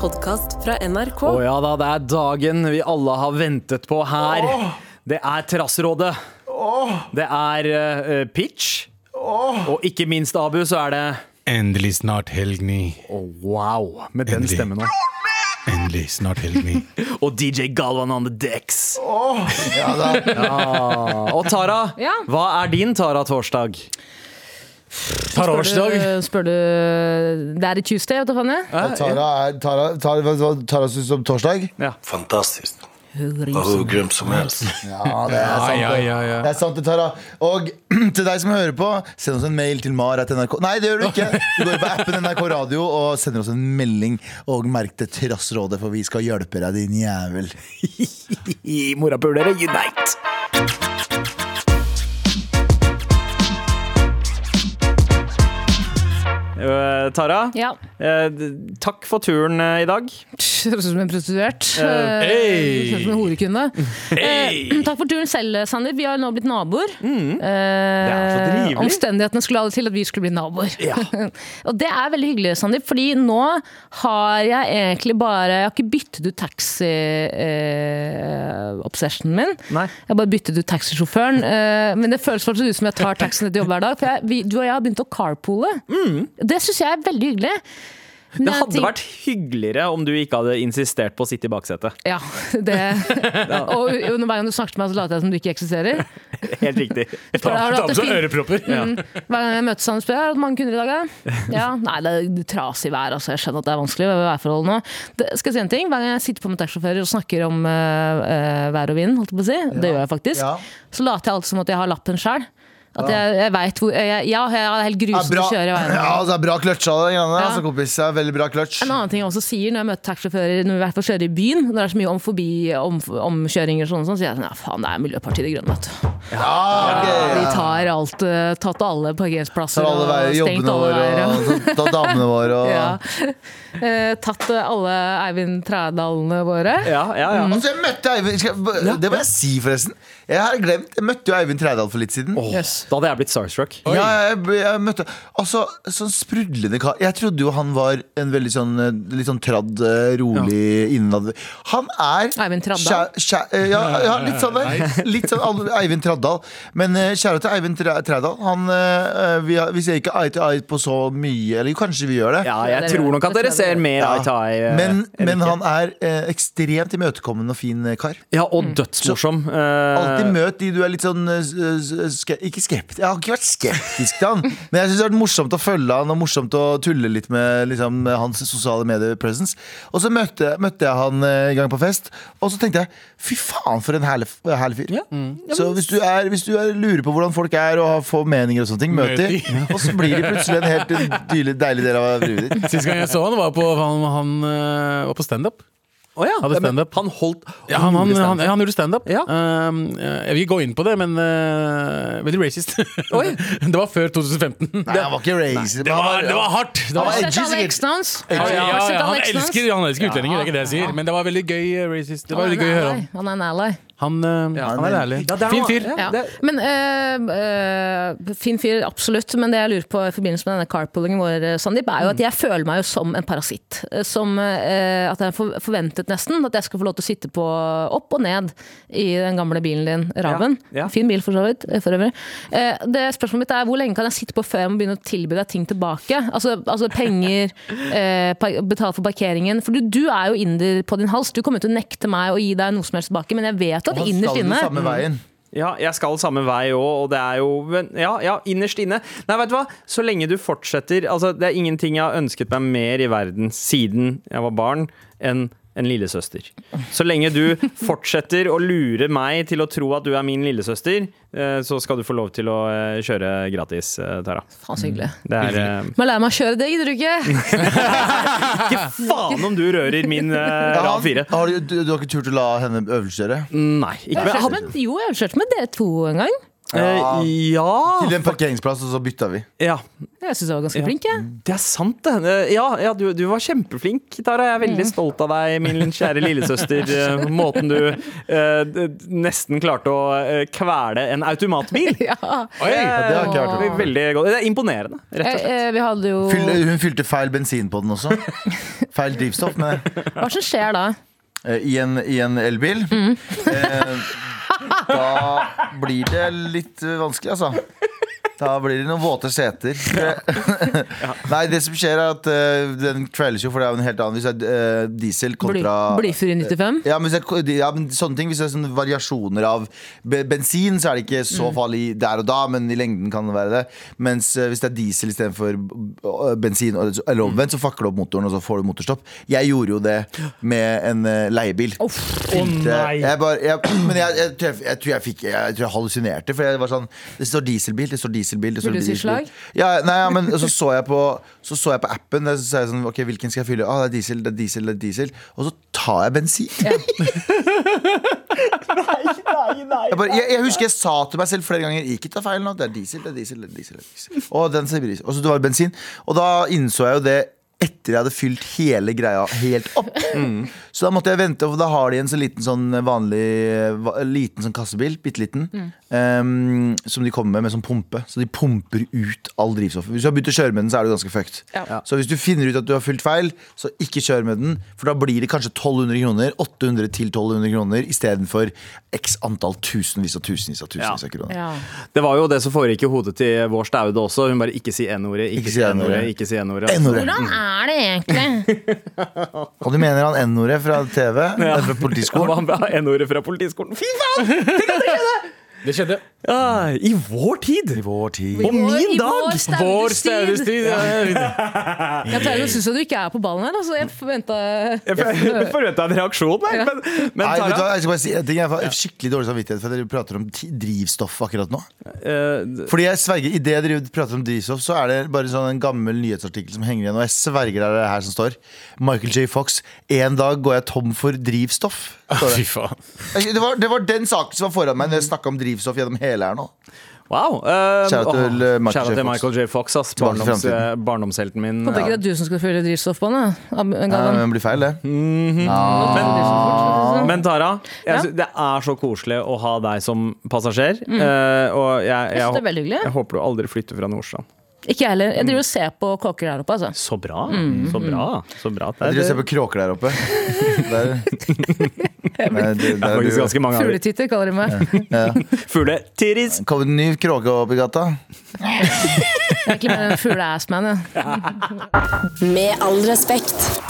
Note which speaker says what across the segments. Speaker 1: podkast fra NRK.
Speaker 2: Å ja da, det er dagen vi alle har ventet på her. Det er Trassrådet. Det er eh, pitch. Og ikke minst, Abu, så er det
Speaker 3: Endelig snart helg, ni.
Speaker 2: Å, Wow, med den
Speaker 3: Endelig.
Speaker 2: stemmen nå.
Speaker 3: Endelig snart helg, ni.
Speaker 2: Og DJ Galvan on the decks.
Speaker 4: Ja da.
Speaker 2: Ah, Og Tara,
Speaker 5: Ja.
Speaker 2: hva er din Tara torsdag? Tara
Speaker 5: Spør
Speaker 2: torsdag?
Speaker 5: du, spør du Det er i Tuesday, vet du faen jeg.
Speaker 4: Og Tara, er, Tara, Tara, hva- hva Tara synes om torsdag?
Speaker 6: Fantastisk. Og hvor grum som helst.
Speaker 4: Ja, det er sant. det. Det er sant det, Tara. Og til deg som hører på, send oss en mail til mar.nrk. Nei, det gjør du ikke! Du går på appen NRK Radio og sender oss en melding. Og merk det Trassrådet, for vi skal hjelpe deg, din jævel.
Speaker 2: I morapulere Unite. Eh, Tara,
Speaker 5: Ja.
Speaker 2: eh, d- takk for turen eh, i dag.
Speaker 5: Psh, Høres ut som en prostituert.
Speaker 2: Eh,
Speaker 5: Eh,
Speaker 2: hey!
Speaker 5: Høres ut som en horekunde. Eh, takk for turen selv, Sander. Vi har nå blitt naboer.
Speaker 2: Mm. Det er så
Speaker 5: Eh,
Speaker 2: trivelig.
Speaker 5: omstendighetene skulle ha det til at vi skulle bli naboer.
Speaker 2: Ja.
Speaker 5: Og det er veldig hyggelig, Sandeep, fordi nå har jeg egentlig bare Jeg har ikke byttet ut taxi-obsessionen min.
Speaker 2: Nei.
Speaker 5: Jeg har bare byttet ut taxisjåføren. eh, men det føles fortsatt ut som jeg tar taxien til jobb hver dag. For jeg, vi, du og jeg har begynt å carpoole. Det syns jeg er veldig hyggelig. Men
Speaker 2: Mm. Det
Speaker 5: jeg
Speaker 2: hadde
Speaker 5: tenk-
Speaker 2: vært hyggeligere om du ikke hadde insistert på å sitte i baksetet.
Speaker 5: Ja, det Og under hver gang du snakker til meg, så later jeg som du ikke eksisterer.
Speaker 2: Helt riktig.
Speaker 5: For da har du hatt det fint. Mm.
Speaker 3: ørepropper.
Speaker 2: Ja.
Speaker 5: Hver gang jeg møter Sandeep, spør jeg har du hatt mange kunder i dag. Ja? Ja, nei, det er trasig vær, altså. Jeg skjønner at det er vanskelig med værforholdene. Det, skal jeg si en ting? Hver gang jeg sitter på med taxisjåfører og snakker om eh, eh, vær og vind, holdt jeg på å si, det gjør jeg faktisk,
Speaker 4: Ja.
Speaker 5: så later jeg alltid som at jeg har lappen sjøl. At jeg, jeg veit hvor jeg, Ja, jeg er helt
Speaker 4: Det er
Speaker 5: grusom til
Speaker 4: bra,
Speaker 5: å kjøre i veien.
Speaker 4: ja, altså, det er bra kløtsj av deg, greiene der,
Speaker 5: Ja.
Speaker 4: altså, kompis. Det er veldig bra kløtsj.
Speaker 5: En annen ting jeg også sier når jeg møter taxisjåfører når vi i hvert fall kjører i byen, når det er så mye om forbi om, omkjøringer og sånn, sånn, sier jeg sånn ja, faen, det er Miljøpartiet De Grønne, vet du.
Speaker 4: Ja, ok.
Speaker 5: De tar alt, eh, tatt alle parkeringsplasser
Speaker 4: Tar alle veier,
Speaker 5: og stengt
Speaker 4: jobbene
Speaker 5: alle veier.
Speaker 4: våre,
Speaker 5: og-
Speaker 4: og så tar damene våre og
Speaker 5: Ja. Eh, tatt eh, alle Eivind Trædalene våre.
Speaker 2: Ja, ja, ja.
Speaker 4: Altså, jeg møtte Eivind skal, jeg- Det må jeg si, forresten. Jeg har glemt, jeg møtte jo Eivind Trædal for litt siden.
Speaker 5: Yes.
Speaker 2: Da hadde jeg blitt starstruck.
Speaker 4: Ja, jeg, jeg møtte Altså, sånn sprudlende kar Jeg trodde jo han var en veldig sånn eh, Litt sånn tradd, eh, rolig innad Han er
Speaker 5: Eivind Traddal?
Speaker 4: skjæ- skjæ- eh, ja, ja, litt sånn der Litt sånn al- Eivind Traddal Men eh, kjære til Eivind Tra- Traddal Han, eh, vi, har- vi ser ikke eye to eye på så mye Eller kanskje vi gjør det
Speaker 2: Ja, jeg tror nok at dere ser mer
Speaker 4: Ja.
Speaker 2: eye to eye. eh,
Speaker 4: men,
Speaker 2: enn
Speaker 4: men
Speaker 2: ikke.
Speaker 4: han er eh, ekstremt imøtekommende og fin eh, kar
Speaker 2: Ja, og dødsmorsom. eh,
Speaker 4: Altid møt de du er litt sånn eh, s- s- ske Ikke skeptisk, jeg har ikke vært skeptisk til han Men jeg synes det har vært morsomt å følge han Og morsomt å tulle litt med liksom, hans sosiale mediepresence Og så møtte, møtte jeg han eh, en gang på fest Og så tenkte jeg, fy faen for en herlig, herlig fyr Mm. Så hvis du, er, hvis du er, lurer på hvordan folk er Og har- får meninger og sånne ting, møt
Speaker 3: Møt
Speaker 4: de Og så blir de plutselig en helt deilig, deilig del av livet ditt
Speaker 3: Sist gang jeg så han, var på, han, han øh, var på standup.
Speaker 2: Å ja,
Speaker 3: Hadde
Speaker 2: men
Speaker 3: stand-up.
Speaker 2: Han holdt
Speaker 3: Ja, han, han, han, han gjorde standup.
Speaker 2: Ja.
Speaker 3: Um, jeg vil ikke gå inn på det, men øh, veldig racist.
Speaker 2: Oi.
Speaker 3: det var før 2015. Det
Speaker 4: Nei, han var ikke racist men han
Speaker 3: var, det var hardt! Det var,
Speaker 4: Han
Speaker 5: Har
Speaker 4: var
Speaker 5: du sett
Speaker 4: edgy,
Speaker 5: alle
Speaker 4: sikkert.
Speaker 5: eksene hans?
Speaker 3: ja,
Speaker 5: Har
Speaker 3: ja,
Speaker 5: du sett
Speaker 3: ja, han,
Speaker 5: alle eksene hans?
Speaker 3: elsker, han elsker utlendinger, det er ikke det jeg sier. Men det var veldig gøy øh, racist. Det var
Speaker 5: Han
Speaker 3: veldig
Speaker 5: er
Speaker 3: gøy å
Speaker 5: en
Speaker 3: høre
Speaker 5: ally.
Speaker 3: om.
Speaker 5: Han er en ally.
Speaker 3: Han, øh, han er ærlig.
Speaker 2: Ja, det er
Speaker 3: Fin
Speaker 2: han-
Speaker 3: fyr.
Speaker 2: ja.
Speaker 5: Ja.
Speaker 2: det-
Speaker 5: Men, eh, eh, fin fyr, absolutt. Men det jeg lurer på i forbindelse med denne carpoolingen vår, eh, Sandeep, er jo at jeg føler meg jo som en parasitt. Eh, Som eh, at jeg for- forventet nesten at jeg skal få lov til å sitte på opp og ned i den gamle bilen din, Raven.
Speaker 2: Ja, ja.
Speaker 5: Fin bil for så vidt, eh, for øvrig. Eh, Det spørsmålet mitt er hvor lenge kan jeg sitte på før jeg må begynne å tilby deg ting tilbake? Altså, altså penger, eh, par- betale for parkeringen. For du, du er jo inder på din hals. Du kommer jo til å nekte meg å gi deg noe som helst tilbake, men jeg vet at
Speaker 4: Han
Speaker 5: innerst
Speaker 4: skal den
Speaker 5: inne
Speaker 4: samme
Speaker 3: Mm.
Speaker 4: veien
Speaker 2: Ja, jeg skal samme vei òg, og det er jo men, Ja, ja, innerst inne. Nei, vet du hva? Så lenge du fortsetter Altså, det er ingenting jeg har ønsket meg mer i verden siden jeg var barn, enn en lillesøster. Så lenge du fortsetter å lure meg til å tro at du er min lillesøster, eh, så skal du få lov til å eh, kjøre gratis, eh, Tara.
Speaker 5: Mm, Faen, så hyggelig.
Speaker 2: Det er eh,
Speaker 5: Men lære meg å kjøre, det gidder du ikke?
Speaker 2: Ikke eh, faen om du rører min eh,
Speaker 4: Ja,
Speaker 2: Rav 4.
Speaker 4: har du, du, du har ikke turt å la henne øvelseskjøre?
Speaker 2: Nei. Ikke,
Speaker 5: Jeg
Speaker 2: men,
Speaker 5: kjørte med, jo, jeg kjørte med dere to en gang.
Speaker 4: Ja.
Speaker 2: Eh, ja.
Speaker 4: Til en parkeringsplass, og så bytta vi.
Speaker 2: ja.
Speaker 5: Jeg syns jeg var ganske flink, jeg.
Speaker 2: Det er sant, det. Eh, Ja, ja du, du var kjempeflink, Tara. Jeg er veldig stolt av deg, min kjære lillesøster. Eh, Måten du eh, d- nesten klarte å eh, kvele en automatbil.
Speaker 5: Ja.
Speaker 3: Oi!
Speaker 4: det har jeg ikke hørt om.
Speaker 2: Eh, Veldig godt. Det er imponerende, rett og
Speaker 5: Eh,
Speaker 2: slett.
Speaker 5: eh, Vi hadde jo
Speaker 4: Fyl, hun fylte feil bensin på den også. Feil drivstoff med,
Speaker 5: Hva som skjer da?
Speaker 4: eh, i, en, i en elbil. Eh, da blir det litt eh, vanskelig, altså. Da blir det noen våte seter. Nei, det som skjer, er at eh, den kveles jo, for det er jo en helt annen Hvis det er eh, diesel
Speaker 5: Bly-
Speaker 4: kontra
Speaker 5: Blyfri 95?
Speaker 4: ja, men, hvis det er- ja, men sånne ting Hvis det er sånne variasjoner av be- bensin, så er det ikke
Speaker 5: Mm.
Speaker 4: så farlig der og da, men i lengden kan det være det. Mens eh, hvis det er diesel istedenfor b- bensin, og- eller
Speaker 5: Mm.
Speaker 4: omvendt, så fucker du opp motoren, og så får du motorstopp. Jeg gjorde jo det med en eh, leiebil. Fylte-
Speaker 2: nei.
Speaker 4: Jeg bare, jeg, men jeg, jeg, tror jeg, jeg tror jeg fikk Jeg tror jeg hallusinerte, for jeg var sånn Det står dieselbil, det står dieselbil, det står
Speaker 5: Vil du si
Speaker 4: dieselbil.
Speaker 5: slag?
Speaker 4: Ja, nei, ja, men så så jeg på Så så jeg på appen der, Så sa jeg sånn, ok, hvilken skal jeg fylle? Ah, det er diesel, det er diesel, det er diesel Og så tar jeg bensin jeg, bare, jeg, jeg husker jeg sa til meg selv flere ganger Ikke ta feil nå, det er diesel, det er diesel, det er diesel, det er diesel. Og den sier diesel, og så det var bensin Og da innså jeg jo det etter jeg hadde fylt hele greia helt opp Så da måtte jeg vente, for da har de en så liten sånn vanlig va- Liten sånn kassebil, bitteliten em, Som de kommer med, med sånn pumpe Så de pumper ut all drivstoffet Hvis du har begynt å kjøre med den, så er du ganske fucked
Speaker 5: Ja.
Speaker 4: Så hvis du finner ut at du har fylt feil Så ikke kjør med den, for da blir det kanskje 1200 kroner 800 til 1200 kroner I stedet for x antall tusenvis og tusenvis og tusenvis av kroner
Speaker 5: Ja.
Speaker 2: Det var jo det som foregikk i hodet til vår staude også. Hun bare 'ikke si n-ordet',
Speaker 4: Ikke
Speaker 2: ikke
Speaker 4: si
Speaker 2: si n-ordet,
Speaker 4: N-ordet.
Speaker 2: ikke si n-ordet. Altså,
Speaker 4: N-ordet.
Speaker 5: Hvordan er det egentlig?
Speaker 4: Og du mener han N-ordet fra TV? eller Fra
Speaker 2: Ja,
Speaker 4: politiskolen?
Speaker 2: han ba N-ordet fra politiskolen. Fy faen!
Speaker 3: Det skjedde.
Speaker 2: Ja, I vår tid!
Speaker 4: I vår tid
Speaker 2: På min
Speaker 5: I
Speaker 2: dag!
Speaker 5: vår staudes
Speaker 3: Vår
Speaker 5: tid.
Speaker 3: staudestid. Ja.
Speaker 5: Jeg pleier å synes at du ikke er på ballen her. Altså. Jeg forventa
Speaker 2: Jeg forventa en reaksjon der, men, men
Speaker 4: Nei, vet du
Speaker 2: Tara
Speaker 4: hva, jeg skal bare si en ting Jeg har skikkelig dårlig samvittighet for at dere prater om ti- drivstoff akkurat nå.
Speaker 2: eh,
Speaker 4: Fordi jeg sverger, Idet dere prater om drivstoff, så er det bare sånn en gammel nyhetsartikkel som henger igjen. Og jeg sverger det er det her som står. Michael J. Fox. En dag går jeg tom for drivstoff.
Speaker 3: Fy faen.
Speaker 4: Det var, det var den saken som var foran meg når jeg snakka om drivstoff gjennom hele her nå.
Speaker 2: Wow. eh,
Speaker 4: Shout out
Speaker 2: åh,
Speaker 4: til, eh, Michael
Speaker 2: shout out
Speaker 4: J.
Speaker 2: til
Speaker 4: Fox.
Speaker 2: Michael J. Fox, ass.
Speaker 4: Tilbake til
Speaker 2: Barndoms,
Speaker 4: fremtiden.
Speaker 2: eh, barndomshelten min.
Speaker 5: Håper
Speaker 2: Ja.
Speaker 5: ikke det er du som skal fylle drivstoffbåndet. Ab-
Speaker 4: Ja,
Speaker 5: Galvan.
Speaker 4: men det blir feil, det.
Speaker 5: Men-
Speaker 2: Men Tara, jeg
Speaker 5: Ja. Mm.
Speaker 2: sy- det er så koselig å ha deg som passasjer. eh, og jeg, jeg,
Speaker 5: Jeg synes det er
Speaker 2: hå-
Speaker 5: veldig hyggelig. Mm.
Speaker 2: jeg håper du aldri flytter fra Nordstrand.
Speaker 5: sånn. Ikke jeg heller. Jeg driver og ser på kåker der oppe, altså.
Speaker 2: Så bra! Så bra. Så bra. Det,
Speaker 4: Jeg
Speaker 2: er-
Speaker 4: driver og ser på kråker der oppe. Der, Nei, det,
Speaker 2: det er
Speaker 4: der
Speaker 2: faktisk ganske mange av dem.
Speaker 5: Fugletitter kaller de meg.
Speaker 2: Fugletirris!
Speaker 4: Kom det en ny kråke opp i gata?
Speaker 5: Jeg er egentlig mer en fugleassman. jeg.
Speaker 1: Med all respekt.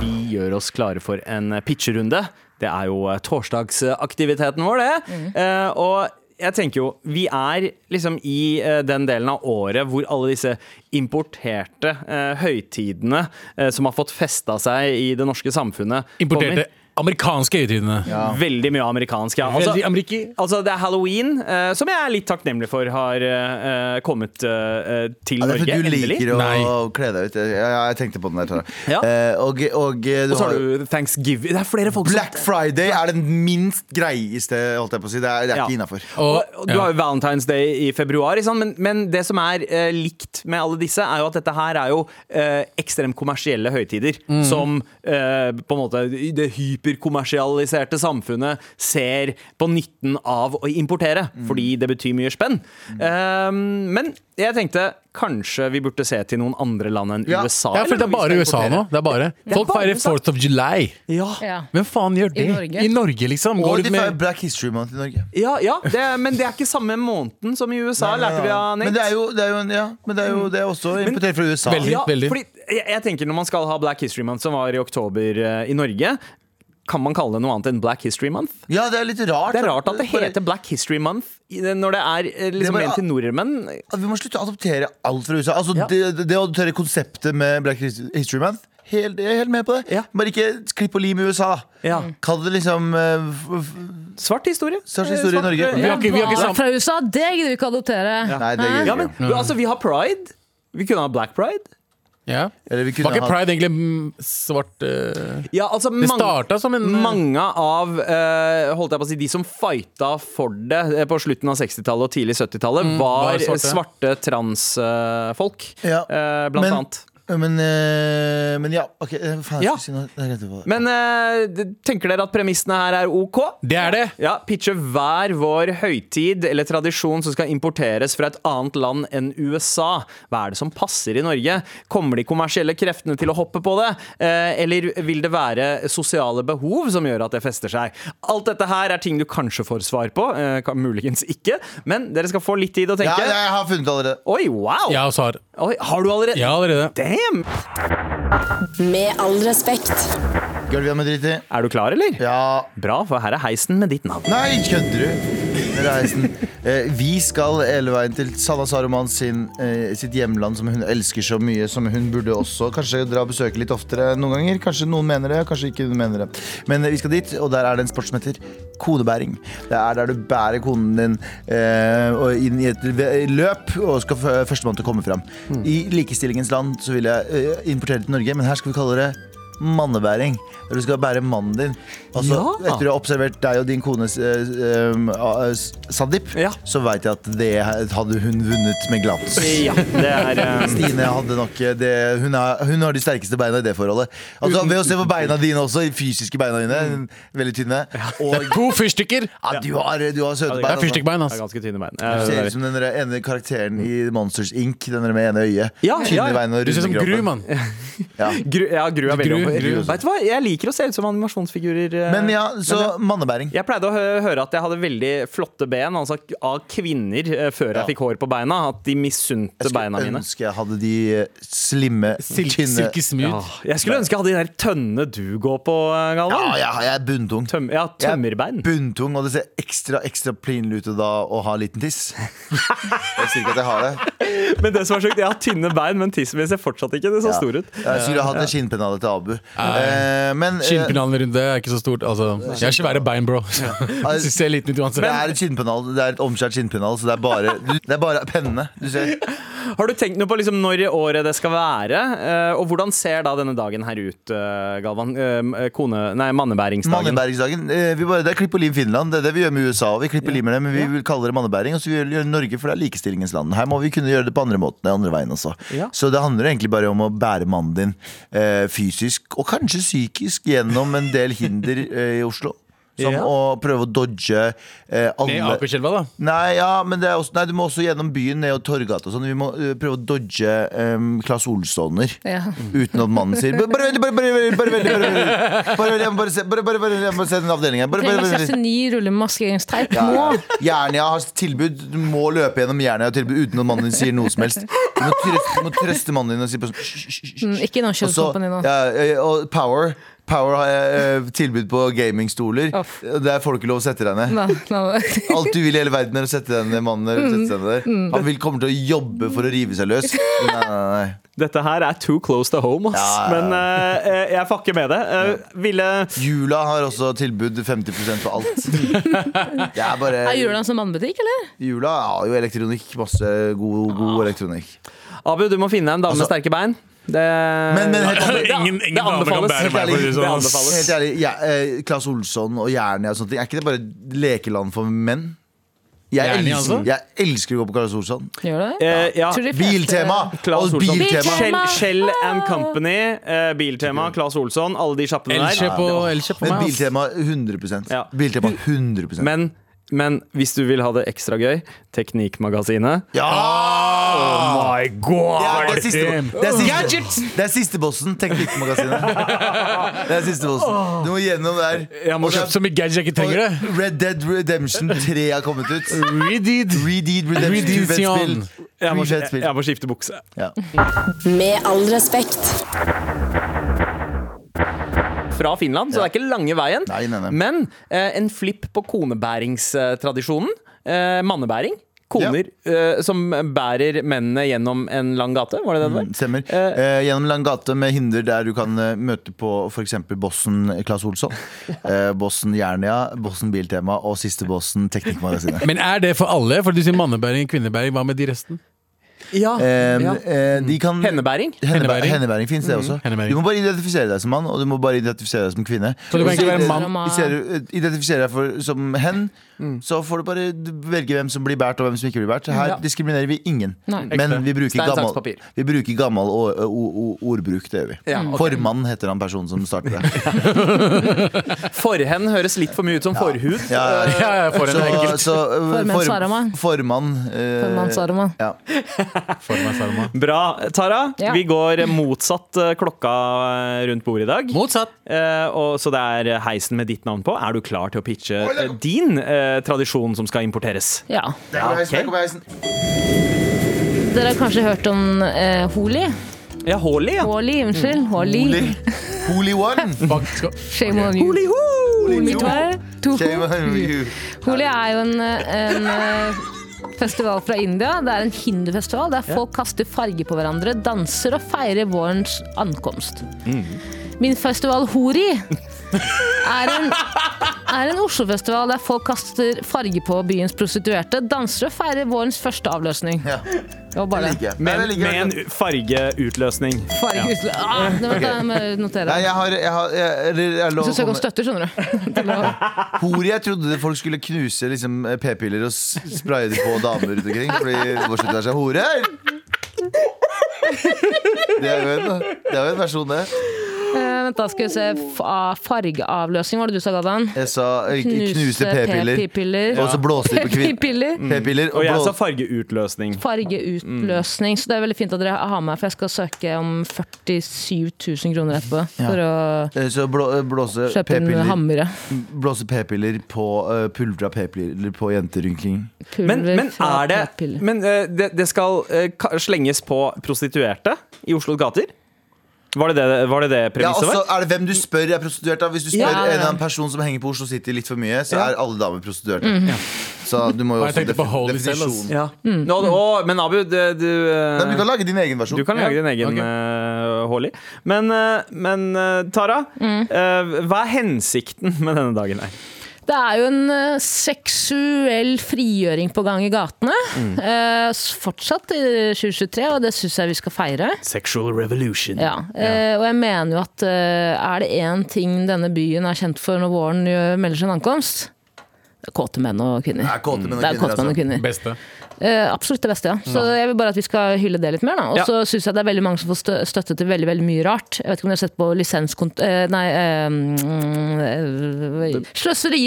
Speaker 2: Vi gjør oss klare for en pitcherunde. Det er jo eh, torsdagsaktiviteten vår, det. Eh, og jeg tenker jo, vi er liksom i eh, den delen av året hvor alle disse importerte eh, høytidene eh, som har fått festa seg i det norske samfunnet,
Speaker 3: Importerte
Speaker 2: kommer.
Speaker 3: amerikanske høytidene.
Speaker 2: Veldig mye amerikansk. Ja. Altså,
Speaker 3: Veldig ameriki.
Speaker 2: altså, det er halloween, eh, som jeg er litt takknemlig for har eh, kommet eh, til
Speaker 4: Ja, det
Speaker 2: Norge.
Speaker 4: er fordi du
Speaker 2: endelig.
Speaker 4: liker å
Speaker 3: Nei.
Speaker 4: kle deg ut. Jeg, jeg, jeg tenkte på den der. Tara.
Speaker 2: Ja.
Speaker 4: Eh, og, og eh, du
Speaker 2: Og så
Speaker 4: har
Speaker 2: har
Speaker 4: jo
Speaker 2: du thanksgiving. Det er flere folk som-
Speaker 4: Black Friday er den minst greieste, holdt jeg på å si. Det er, det er
Speaker 2: Ja.
Speaker 4: ikke innafor.
Speaker 2: Og, og du
Speaker 3: ja.
Speaker 2: har jo Valentine's Day i februar, ikke sant? Men, men det som er eh, likt med alle disse, er jo at dette her er jo eh, ekstremt kommersielle høytider.
Speaker 3: Mm.
Speaker 2: Som eh, på en måte i det hyperkommersialiserte samfunnet ser på nytten av å importere.
Speaker 3: Mm.
Speaker 2: Fordi det betyr mye spenn. Eh, men jeg tenkte kanskje vi burde se til noen andre land enn
Speaker 4: Ja.
Speaker 2: USA.
Speaker 3: Ja, for
Speaker 2: eller,
Speaker 3: det er
Speaker 2: når
Speaker 3: bare
Speaker 2: vi
Speaker 3: USA
Speaker 2: skal
Speaker 3: nå.
Speaker 2: importere.
Speaker 3: Det er bare. Folk
Speaker 2: bare
Speaker 3: feirer
Speaker 2: USA.
Speaker 3: 4th of July.
Speaker 2: Ja,
Speaker 5: Ja.
Speaker 3: Hvem faen gjør det?
Speaker 5: Norge.
Speaker 3: I Norge, liksom.
Speaker 4: Og
Speaker 3: Går
Speaker 4: de
Speaker 3: ut
Speaker 4: feirer
Speaker 3: med
Speaker 4: Black History Month i Norge.
Speaker 2: ja, ja det, er- men det er ikke samme måneden som i USA, lærte vi av Nate. Mm.
Speaker 4: Men det er jo, det er jo, en- ja, men det er jo det er også importert fra USA.
Speaker 3: Veldig.
Speaker 2: Ja, fordi jeg, jeg tenker Når man skal ha Black History Month, som var i oktober eh, i Norge, kan man kalle det noe annet enn Black History Month?
Speaker 4: Ja, det er litt rart.
Speaker 2: Det er rart at det heter Black History Month i- når det er eh,
Speaker 4: Det er
Speaker 2: liksom
Speaker 4: bare-
Speaker 2: ment til nordmenn.
Speaker 4: at Vi må slutte å adoptere alt fra USA. Altså,
Speaker 2: Ja.
Speaker 4: det, det å adoptere konseptet med Black History Month Helt, jeg er helt med på det.
Speaker 2: Ja.
Speaker 4: Bare ikke klipp og lim i USA.
Speaker 2: Ja.
Speaker 4: Kall det liksom eh, f- f-
Speaker 2: Svart historie.
Speaker 4: Svart
Speaker 2: Eh,
Speaker 4: historie i Norge.
Speaker 2: eh,
Speaker 3: Vi har ikke, vi har ikke
Speaker 5: Hva
Speaker 3: sam-
Speaker 5: Fra USA, det gidder vi ikke adoptere.
Speaker 4: Nei, det
Speaker 2: Ja,
Speaker 4: gjør vi
Speaker 2: men
Speaker 4: ikke.
Speaker 2: altså, vi har pride. Vi kunne ha Black Pride.
Speaker 3: Ja.
Speaker 4: Eller vi kunne
Speaker 3: Var ikke
Speaker 4: hatt-
Speaker 3: pride egentlig mm, svart eh,
Speaker 2: Ja, altså
Speaker 3: Det
Speaker 2: mange-
Speaker 3: starta som en
Speaker 2: Mange av eh, holdt jeg på å si, de som fighta for det eh, på slutten av 60-tallet og tidlig 70-tallet, var,
Speaker 3: var svarte.
Speaker 2: svarte, transfolk.
Speaker 4: Ja.
Speaker 2: eh, blant
Speaker 4: Men-
Speaker 2: annet.
Speaker 4: Men, eh, men ja, ok. eh, Faen,
Speaker 2: Ja.
Speaker 4: jeg skulle si noe. Jeg glemte på det.
Speaker 2: Men eh, d- tenker dere at premissene her er OK?
Speaker 3: Det er det!
Speaker 2: Ja, Pitche hver vår høytid eller tradisjon som skal importeres fra et annet land enn USA. Hva er det som passer i Norge? Kommer de kommersielle kreftene til å hoppe på det? Eh, Eller vil det være sosiale behov som gjør at det fester seg? Alt dette her er ting du kanskje får svar på, eh, kan- muligens ikke, men dere skal få litt tid å
Speaker 4: ja,
Speaker 2: tenke.
Speaker 4: jeg har funnet det allerede.
Speaker 2: Oi, wow!
Speaker 3: Ja, Sar.
Speaker 2: Oi, har du allerede
Speaker 3: Ja, allerede.
Speaker 2: Damn!
Speaker 1: Med all respekt.
Speaker 4: Gulvet er med dritt i.
Speaker 2: Er du klar, eller?
Speaker 4: Ja.
Speaker 2: Bra, for her er heisen med ditt navn.
Speaker 4: Nei, kødder du? Reisen. Eh, vi skal hele veien til Sanna Saruman sin, eh, sitt hjemland, som hun elsker så mye. Som hun burde også kanskje dra og besøke litt oftere noen ganger. Kanskje noen mener det, kanskje ikke hun mener det. Men eh, vi skal dit, og der er det en sport som heter konebæring. Det er der du bærer konen din eh, og inn i et ve- løp og skal f- førstemann til å komme fram. I likestillingens land så vil jeg eh, importere det til Norge, men her skal vi kalle det mannebæring. Der du skal bære mannen din. Altså,
Speaker 2: Ja.
Speaker 4: Etter å ha observert deg og din kone eh, eh, s- Sandeep,
Speaker 2: Ja.
Speaker 4: så veit jeg at det hadde hun vunnet med glans.
Speaker 2: Ja, det er eh,
Speaker 4: Stine hadde nok eh, det, hun, har, hun har de sterkeste beina i det forholdet. Altså, ved å se på beina dine også, de fysiske beina dine, veldig tynne. Og
Speaker 3: To fyrstikker!
Speaker 4: ja, du, har, du har søte
Speaker 2: det
Speaker 3: Det
Speaker 4: bein.
Speaker 3: er
Speaker 4: altså.
Speaker 3: fyrstikkbein,
Speaker 2: Det
Speaker 3: ass.
Speaker 2: er ganske tynne bein.
Speaker 4: Du
Speaker 2: Eh,
Speaker 4: ser ut som den der ene karakteren i Monsters Inc. Den der med ene øyet.
Speaker 2: Ja,
Speaker 4: Tynne
Speaker 2: ja, ja.
Speaker 4: beina og
Speaker 3: Du ser ut
Speaker 4: runde
Speaker 3: som Gru,
Speaker 4: kroppen.
Speaker 3: mann.
Speaker 4: Ja.
Speaker 2: Gru, ja, Gru er veldig
Speaker 3: Gru-
Speaker 2: over-
Speaker 3: Gru også.
Speaker 2: Vet du hva, jeg liker å se ut som animasjonsfigurer. eh,
Speaker 4: Men ja, så
Speaker 2: men
Speaker 4: mannebæring.
Speaker 2: jeg pleide å hø- høre at jeg hadde veldig flotte ben altså av kvinner eh, før jeg
Speaker 4: Ja.
Speaker 2: fikk hår på beina. At de misunte
Speaker 4: Jeg
Speaker 2: beina
Speaker 4: skulle
Speaker 2: mine.
Speaker 4: ønske jeg hadde de eh, slimme,
Speaker 3: Sil
Speaker 4: tynne
Speaker 3: Silke Smooth.
Speaker 2: Åh, Jeg skulle ønske jeg hadde de der tønnene du går på, eh,
Speaker 4: Ja,
Speaker 2: Galvan.
Speaker 4: jeg, jeg er bunntung.
Speaker 2: Tøm, ja,
Speaker 4: Jeg er
Speaker 2: tømmerbein.
Speaker 4: Bunntung, og det ser ekstra ekstra plinlig ut da å ha liten tiss. Jeg sier ikke at jeg har det.
Speaker 2: Men det som er sjukt, jeg har tynne bein, men tissen min ser fortsatt ikke det så
Speaker 4: Ja.
Speaker 2: stor ut.
Speaker 4: Jeg skulle hatt en skinnpennale til Abu. Eh, Men eh,
Speaker 3: Skinnpennalen rundt det er ikke så stort. Altså, jeg har svære bein, bro. Du ser liten ut
Speaker 4: det
Speaker 3: uansett.
Speaker 4: er et skinnpennal, det er et omskjært skinnpennal, så det er bare, det er bare pennene. Du ser.
Speaker 2: Har du tenkt noe på liksom når i året det skal være? eh, Og hvordan ser da denne dagen her ut, eh, Galvan? Eh, Kone... Nei, mannebæringsdagen.
Speaker 4: Mannebæringsdagen. eh, Vi bare, det er klipp og lim Finland. Det er det vi gjør med USA. Og vi klipper og limer det, men vi vil kalle det mannebæring. Og så vil vi gjøre Norge, for det er likestillingens land. Her må vi kunne gjøre det på andre måten, andre veien også.
Speaker 2: Ja.
Speaker 4: Så det handler egentlig bare om å bære mannen din eh, fysisk, og kanskje psykisk, gjennom en del hinder eh, i Oslo. Som
Speaker 2: Ja.
Speaker 4: å prøve å dodge eh,
Speaker 3: Ned
Speaker 4: alle
Speaker 3: Akerselva, da.
Speaker 4: Nei, ja, men det er også, nei, du må også gjennom byen ned og Torgata og sånn. Vi må eh, prøve å dodge um, Claes Olssoner.
Speaker 5: Ja.
Speaker 4: Uten at mannen sier Bare vent, bare bare vent, bare vent, bare vent, bare vent, jeg må bare se, bare, bare, bare, jeg må bare se den avdelingen. Bare, bare,
Speaker 5: Trenger
Speaker 4: bare, bare.
Speaker 5: 69 ruller med maskeringsteip
Speaker 4: Ja,
Speaker 5: nå.
Speaker 4: ja. Jernia har tilbud. Du må løpe gjennom Jernia og tilbud uten at mannen din sier noe som helst. Du må trøste, du må trøste mannen din og si på sånn «Hysj, hysj, hysj,
Speaker 5: Mm,
Speaker 4: hysj».
Speaker 5: Ikke
Speaker 4: Og så-
Speaker 5: Innorsjøkompani nå.
Speaker 4: Ja, eh, og Power. Power har eh, tilbud på gamingstoler.
Speaker 5: Uff.
Speaker 4: Der får du ikke lov å sette deg ned.
Speaker 5: Nei, nei, nei.
Speaker 4: Alt du vil i hele verden er å sette den mannen der. Sette seg der. Han vil kommer til å jobbe for å rive seg løs. Nei, nei, nei.
Speaker 2: Dette her er too close to home, ass.
Speaker 4: Ja, ja, ja.
Speaker 2: Men eh, jeg fucker med det. Eh, ville
Speaker 4: Jula har også tilbud 50 på alt. Det er bare
Speaker 5: Er jula en sånn mannbutikk, eller?
Speaker 4: Jula har jo elektronikk. Masse god,
Speaker 5: Ah.
Speaker 4: god elektronikk.
Speaker 2: Abu, du må finne en dame med
Speaker 4: Altså-
Speaker 2: sterke bein. Det,
Speaker 4: Men, men helt ærlig,
Speaker 3: Ingen, ingen dame kan
Speaker 2: anbefales.
Speaker 3: bære meg, for å si det
Speaker 2: Det
Speaker 3: sånn. ass.
Speaker 2: anbefales.
Speaker 4: helt ærlig ja, eh, Claes Olsson og Jernia og sånne ting, er ikke det bare lekeland for menn? Jeg
Speaker 3: Jernia,
Speaker 4: elsker,
Speaker 3: altså?
Speaker 4: jeg elsker å gå på Claes Olsson.
Speaker 5: Gjør det?
Speaker 2: Eh, ja.
Speaker 5: Tror de fleste-
Speaker 4: Biltema!
Speaker 2: Claes
Speaker 4: Og
Speaker 2: Olsson.
Speaker 4: biltema.
Speaker 2: Shell, Shell and Company, eh, Biltema, Claes Olsson, alle de kjappene der.
Speaker 3: Elkjøp og- elkjøp på
Speaker 4: Men
Speaker 3: meg, ass.
Speaker 4: biltema 100
Speaker 2: Ja.
Speaker 4: Biltema 100
Speaker 2: Men, men hvis du vil ha det ekstra gøy, Teknikkmagasinet.
Speaker 3: Oh
Speaker 4: Ja!
Speaker 2: My god!
Speaker 4: Ja, Ah! det, er siste,
Speaker 3: damn.
Speaker 4: det, er siste, det er siste bossen, Teknikkmagasinet. Det er siste bossen. Du må gjennom der.
Speaker 3: Jeg må
Speaker 4: Og det er-
Speaker 3: kjøpe så mye gadget jeg ikke trenger det.
Speaker 4: og Red Dead Redemption 3 har kommet ut.
Speaker 3: Redeed.
Speaker 4: Redeed Redemption 2 fett spill.
Speaker 3: Redemption.
Speaker 2: Jeg må,
Speaker 4: Three fett
Speaker 2: jeg,
Speaker 4: spill.
Speaker 2: jeg må skifte bukse.
Speaker 4: Ja.
Speaker 1: Med all respekt.
Speaker 2: Fra Finland, så det er ikke lange veien.
Speaker 4: Nei, nei, nei.
Speaker 2: Men eh, en flipp på konebæringstradisjonen. Eh, mannebæring. Koner eh, som bærer mennene gjennom en lang gate. Var det det det var?
Speaker 4: Stemmer. Eh, gjennom lang gate med hinder der du kan eh, møte på f.eks. bossen Claes Olsson, eh, bossen Jernia, bossen Biltema og siste bossen Teknikkmagasinet.
Speaker 3: Men er det for alle? For du sier mannebæring, kvinnebæring. Hva med de resten?
Speaker 2: Ja,
Speaker 4: Eh,
Speaker 2: ja.
Speaker 4: eh, de kan,
Speaker 2: Hennebæring?
Speaker 4: Hennebæring,
Speaker 3: Hennebæring.
Speaker 4: hennebæring finnes
Speaker 3: Mm.
Speaker 4: det også.
Speaker 3: Hennebæring.
Speaker 4: Du må bare identifisere deg som mann, og du må bare identifisere deg som kvinne.
Speaker 3: Så du kan ikke være mann.
Speaker 4: Identifisere deg for, som hen, så får du bare velge hvem som blir båret og hvem som ikke blir båret. Her
Speaker 2: Mm. Ja.
Speaker 4: diskriminerer vi ingen,
Speaker 5: Nei.
Speaker 4: men vi bruker
Speaker 2: Stein, saks,
Speaker 4: gammel,
Speaker 2: papir.
Speaker 4: vi bruker gammel o, o, o, ordbruk. Det gjør vi.
Speaker 2: Ja, ok.
Speaker 4: Formann heter han personen som starter det.
Speaker 2: Forhen høres litt for mye ut som forhud.
Speaker 4: Ja, ja, ja.
Speaker 3: Ja, ja, for en
Speaker 4: Eh, Så,
Speaker 3: enkel
Speaker 4: så, eh,
Speaker 5: Formann
Speaker 4: form-
Speaker 5: Sarama.
Speaker 4: Formann. eh,
Speaker 5: Formann Sarama.
Speaker 4: Ja.
Speaker 3: for meg, Sarma.
Speaker 2: Bra. Tara,
Speaker 5: Ja.
Speaker 2: vi går motsatt eh, klokka eh, rundt bordet i dag.
Speaker 3: Motsatt.
Speaker 2: Eh, og, så det er heisen med ditt navn på. Er du klar til å pitche eh, din eh, tradisjon som skal importeres?
Speaker 5: Ja.
Speaker 4: Der kommer heisen, der kommer heisen.
Speaker 5: Dere har kanskje hørt om eh, Holi?
Speaker 2: Ja, Håli, ja.
Speaker 5: Holi,
Speaker 4: Mm.
Speaker 5: unnskyld. Holi.
Speaker 4: Holy, holy one.
Speaker 3: Fuck, skal-
Speaker 5: Shame on you.
Speaker 2: Holi, ho!
Speaker 5: Holi, to-
Speaker 4: Shame on you.
Speaker 5: Holi er jo en, en eh, festival fra India. Det er en hindufestival der folk kaster farger på hverandre, danser og feirer vårens ankomst.
Speaker 4: Mm.
Speaker 5: Min festival Hori er en, er en Oslo-festival der folk kaster farger på byens prostituerte, danser og feirer vårens første avløsning.
Speaker 4: Ja.
Speaker 5: Det var bare det.
Speaker 4: Ligger. Nei,
Speaker 2: Med,
Speaker 4: det ligger-
Speaker 2: med en u- fargeutløsning.
Speaker 5: Fargeutla- Ah, det må jeg ta- notere.
Speaker 4: Nei, jeg har, jeg har jeg, eller, jeg
Speaker 5: Du
Speaker 4: lov,
Speaker 5: skal søke om støtte, skjønner du. Til å-
Speaker 4: Hore, jeg trodde det folk skulle knuse liksom, p-piller og s- spraye det på damer rundt omkring. Fordi hvor slutter det seg horer? Det er jo en, det er jo en versjon, det.
Speaker 5: Eh, Vent, da skal vi se. F- ah, Fargeavløsning, var det du sa, Galvan?
Speaker 4: Jeg sa eh, knuse p-piller.
Speaker 5: p-piller.
Speaker 4: Og så blåste de på kvin-
Speaker 5: P-piller.
Speaker 4: P-piller.
Speaker 2: Og jeg sa
Speaker 4: blå-
Speaker 2: fargeutløsning.
Speaker 5: Fargeutløsning. Så det er veldig fint at dere har meg, for jeg skal søke om 47 000 kroner etterpå. For å
Speaker 4: eh, så blå, eh, blåse
Speaker 5: kjøpe en
Speaker 4: p-piller
Speaker 5: hamre.
Speaker 4: Blåse p-piller på uh, Pulvra p-piller på jenter rundt omkring.
Speaker 5: Pulver
Speaker 2: Men, men
Speaker 5: fra
Speaker 2: er det
Speaker 5: p-piller.
Speaker 2: Men eh, det, det skal eh, ka- slenges på prostituerte i Oslos gater? Var det det, var det, det
Speaker 4: Ja,
Speaker 2: premisset
Speaker 4: og så
Speaker 2: var?
Speaker 4: er det hvem du spør er prostituert. Da. Hvis du spør
Speaker 5: Ja, ja, ja.
Speaker 4: en eller annen person som henger på Oslo City litt for mye, så
Speaker 2: Ja.
Speaker 4: er alle damer prostituerte.
Speaker 5: Mhm.
Speaker 4: Så du må jo
Speaker 3: Jeg
Speaker 4: også
Speaker 3: tenkte på
Speaker 4: defi-
Speaker 3: Holy Cell, ass.
Speaker 4: definisjonen.
Speaker 2: Ja.
Speaker 5: Mm.
Speaker 2: Nå, å, men Abu, det, du eh,
Speaker 4: Nei, Du kan lage din egen versjon.
Speaker 2: Du kan lage din egen
Speaker 3: ok.
Speaker 2: eh, Holly. Men, eh, men eh, Tara,
Speaker 5: Mm.
Speaker 2: eh, hva er hensikten med denne dagen her?
Speaker 5: Det er jo en eh, seksuell frigjøring på gang i gatene.
Speaker 4: Mm.
Speaker 5: Eh, s- fortsatt i 2023, og det syns jeg vi skal feire.
Speaker 2: Sexual revolution.
Speaker 5: Ja, eh, og jeg mener jo at eh, er det én ting denne byen er kjent for når våren gjør- melder sin ankomst? Det er Kåte menn og kvinner.
Speaker 4: Det er kåte menn og
Speaker 5: Det er
Speaker 4: kvinner,
Speaker 5: kåte menn og
Speaker 4: altså.
Speaker 5: kvinner.
Speaker 3: Beste.
Speaker 5: Eh, absolutt det beste, ja. Så jeg vil bare at vi skal hylle det litt mer. da. Og
Speaker 2: Ja.
Speaker 5: så synes syns jeg det er veldig mange som får stø- støtte til veldig veldig mye rart. Jeg vet ikke om dere har sett på lisenskont... eh, nei eh, mm, eh,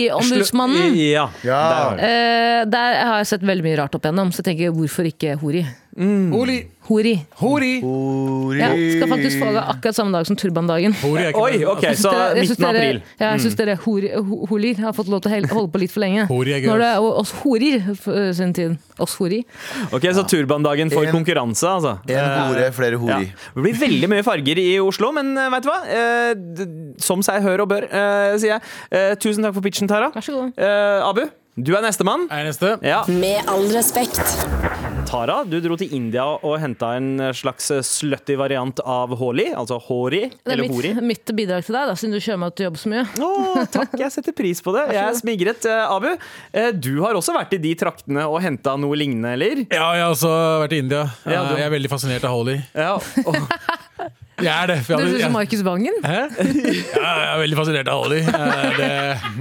Speaker 5: Sløseriombudsmannen!
Speaker 2: Ja.
Speaker 4: Ja.
Speaker 2: Der var det.
Speaker 5: Eh, der har jeg sett veldig mye rart opp igjennom, så jeg tenker hvorfor ikke Hori?
Speaker 3: Hori.
Speaker 5: Hori.
Speaker 3: Hori.
Speaker 4: Hori.
Speaker 5: Ja, skal faktisk få det akkurat samme dag som turbandagen.
Speaker 3: Hori er ikke
Speaker 2: Oi, ok,
Speaker 5: Jeg synes
Speaker 2: så
Speaker 5: dere- jeg synes
Speaker 2: midten av
Speaker 5: dere-
Speaker 2: april. Mm.
Speaker 5: Ja, jeg syns dere hori, ho- holier har fått lov til å hel- holde på litt for lenge.
Speaker 3: Hori er gøy,
Speaker 5: Når det er oss horier f- sin tid. Oss hori.
Speaker 2: Ok, Så turbandagen får
Speaker 4: En-
Speaker 2: konkurranse, altså.
Speaker 4: En
Speaker 2: Eh,
Speaker 4: hore, flere
Speaker 2: ja.
Speaker 4: hori.
Speaker 2: Det blir veldig mye farger i Oslo, men uh, veit du hva? Eh, d- som seg hør og bør, eh, sier jeg. Eh, tusen takk for pitchen, Tara.
Speaker 5: Vær så god.
Speaker 2: Eh, Abu, du er nestemann.
Speaker 3: Er neste.
Speaker 2: Ja.
Speaker 1: Med all respekt.
Speaker 2: Tara, du dro til India og henta en slags slutty variant av Holi, altså Hori,
Speaker 5: Det er
Speaker 2: eller Hori.
Speaker 5: mitt, mitt bidrag til deg, da, siden du kjører meg til jobb så mye.
Speaker 2: Å, takk, jeg setter pris på det. Jeg er smigret. Eh, Abu, eh, du har også vært i de traktene og henta noe lignende, eller?
Speaker 3: Ja, jeg har også vært i India. Eh,
Speaker 2: Ja, du-
Speaker 3: Jeg er veldig fascinert av Holi.
Speaker 2: Ja. og-
Speaker 3: Jeg er det. for
Speaker 5: Du
Speaker 3: jeg-
Speaker 5: ser ut
Speaker 3: jeg-
Speaker 5: som Markus Vangen.
Speaker 3: Hæ? Ja, jeg er veldig fascinert av Holi. Eh,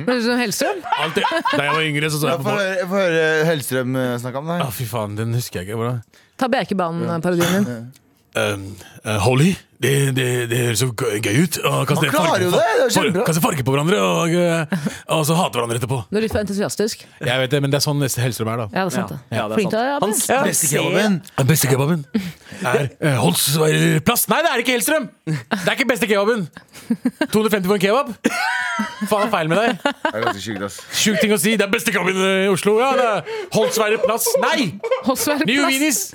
Speaker 3: det-
Speaker 5: Du ser ut som Hellstrøm.
Speaker 3: alt det- Da jeg var yngre, så så
Speaker 4: Ja,
Speaker 3: jeg på
Speaker 4: Få
Speaker 3: Holi.
Speaker 4: høre, få høre Hellstrøm eh, snakke om det.
Speaker 3: Å, fy faen, den husker jeg ikke. Hvordan?
Speaker 5: Ta Bjerkebanen-parodien din.
Speaker 3: Um, eh, Holly, det, det, det høres jo gøy gøy ut. Å kaste
Speaker 4: Man klarer jo det, det er
Speaker 3: farge,
Speaker 4: kjempebra.
Speaker 3: kaste farge på hverandre, og, eh, og så hate hverandre etterpå.
Speaker 5: Du er litt for entusiastisk.
Speaker 3: Jeg vet det, men det er sånn neste Hellstrøm er, da.
Speaker 5: Ja, det er sant, det.
Speaker 2: Ja, det er
Speaker 5: Flink til
Speaker 2: sant.
Speaker 5: å-
Speaker 2: Han
Speaker 5: ja,
Speaker 2: s-
Speaker 4: Beste
Speaker 2: se-
Speaker 4: kebaben.
Speaker 3: Den beste kebaben er uh, Holsveilerplass. Nei, det er ikke Hellstrøm! Det er ikke beste kebaben. 250 for en kebab? Faen, er feil med deg?
Speaker 4: Det er ganske sjukt, ass.
Speaker 3: Sjuk ting å si. Det er beste kebaben i Oslo. Ja, det er Holsveilerplass. Nei!
Speaker 5: Holsvær
Speaker 3: New
Speaker 5: plass.
Speaker 3: Vinis.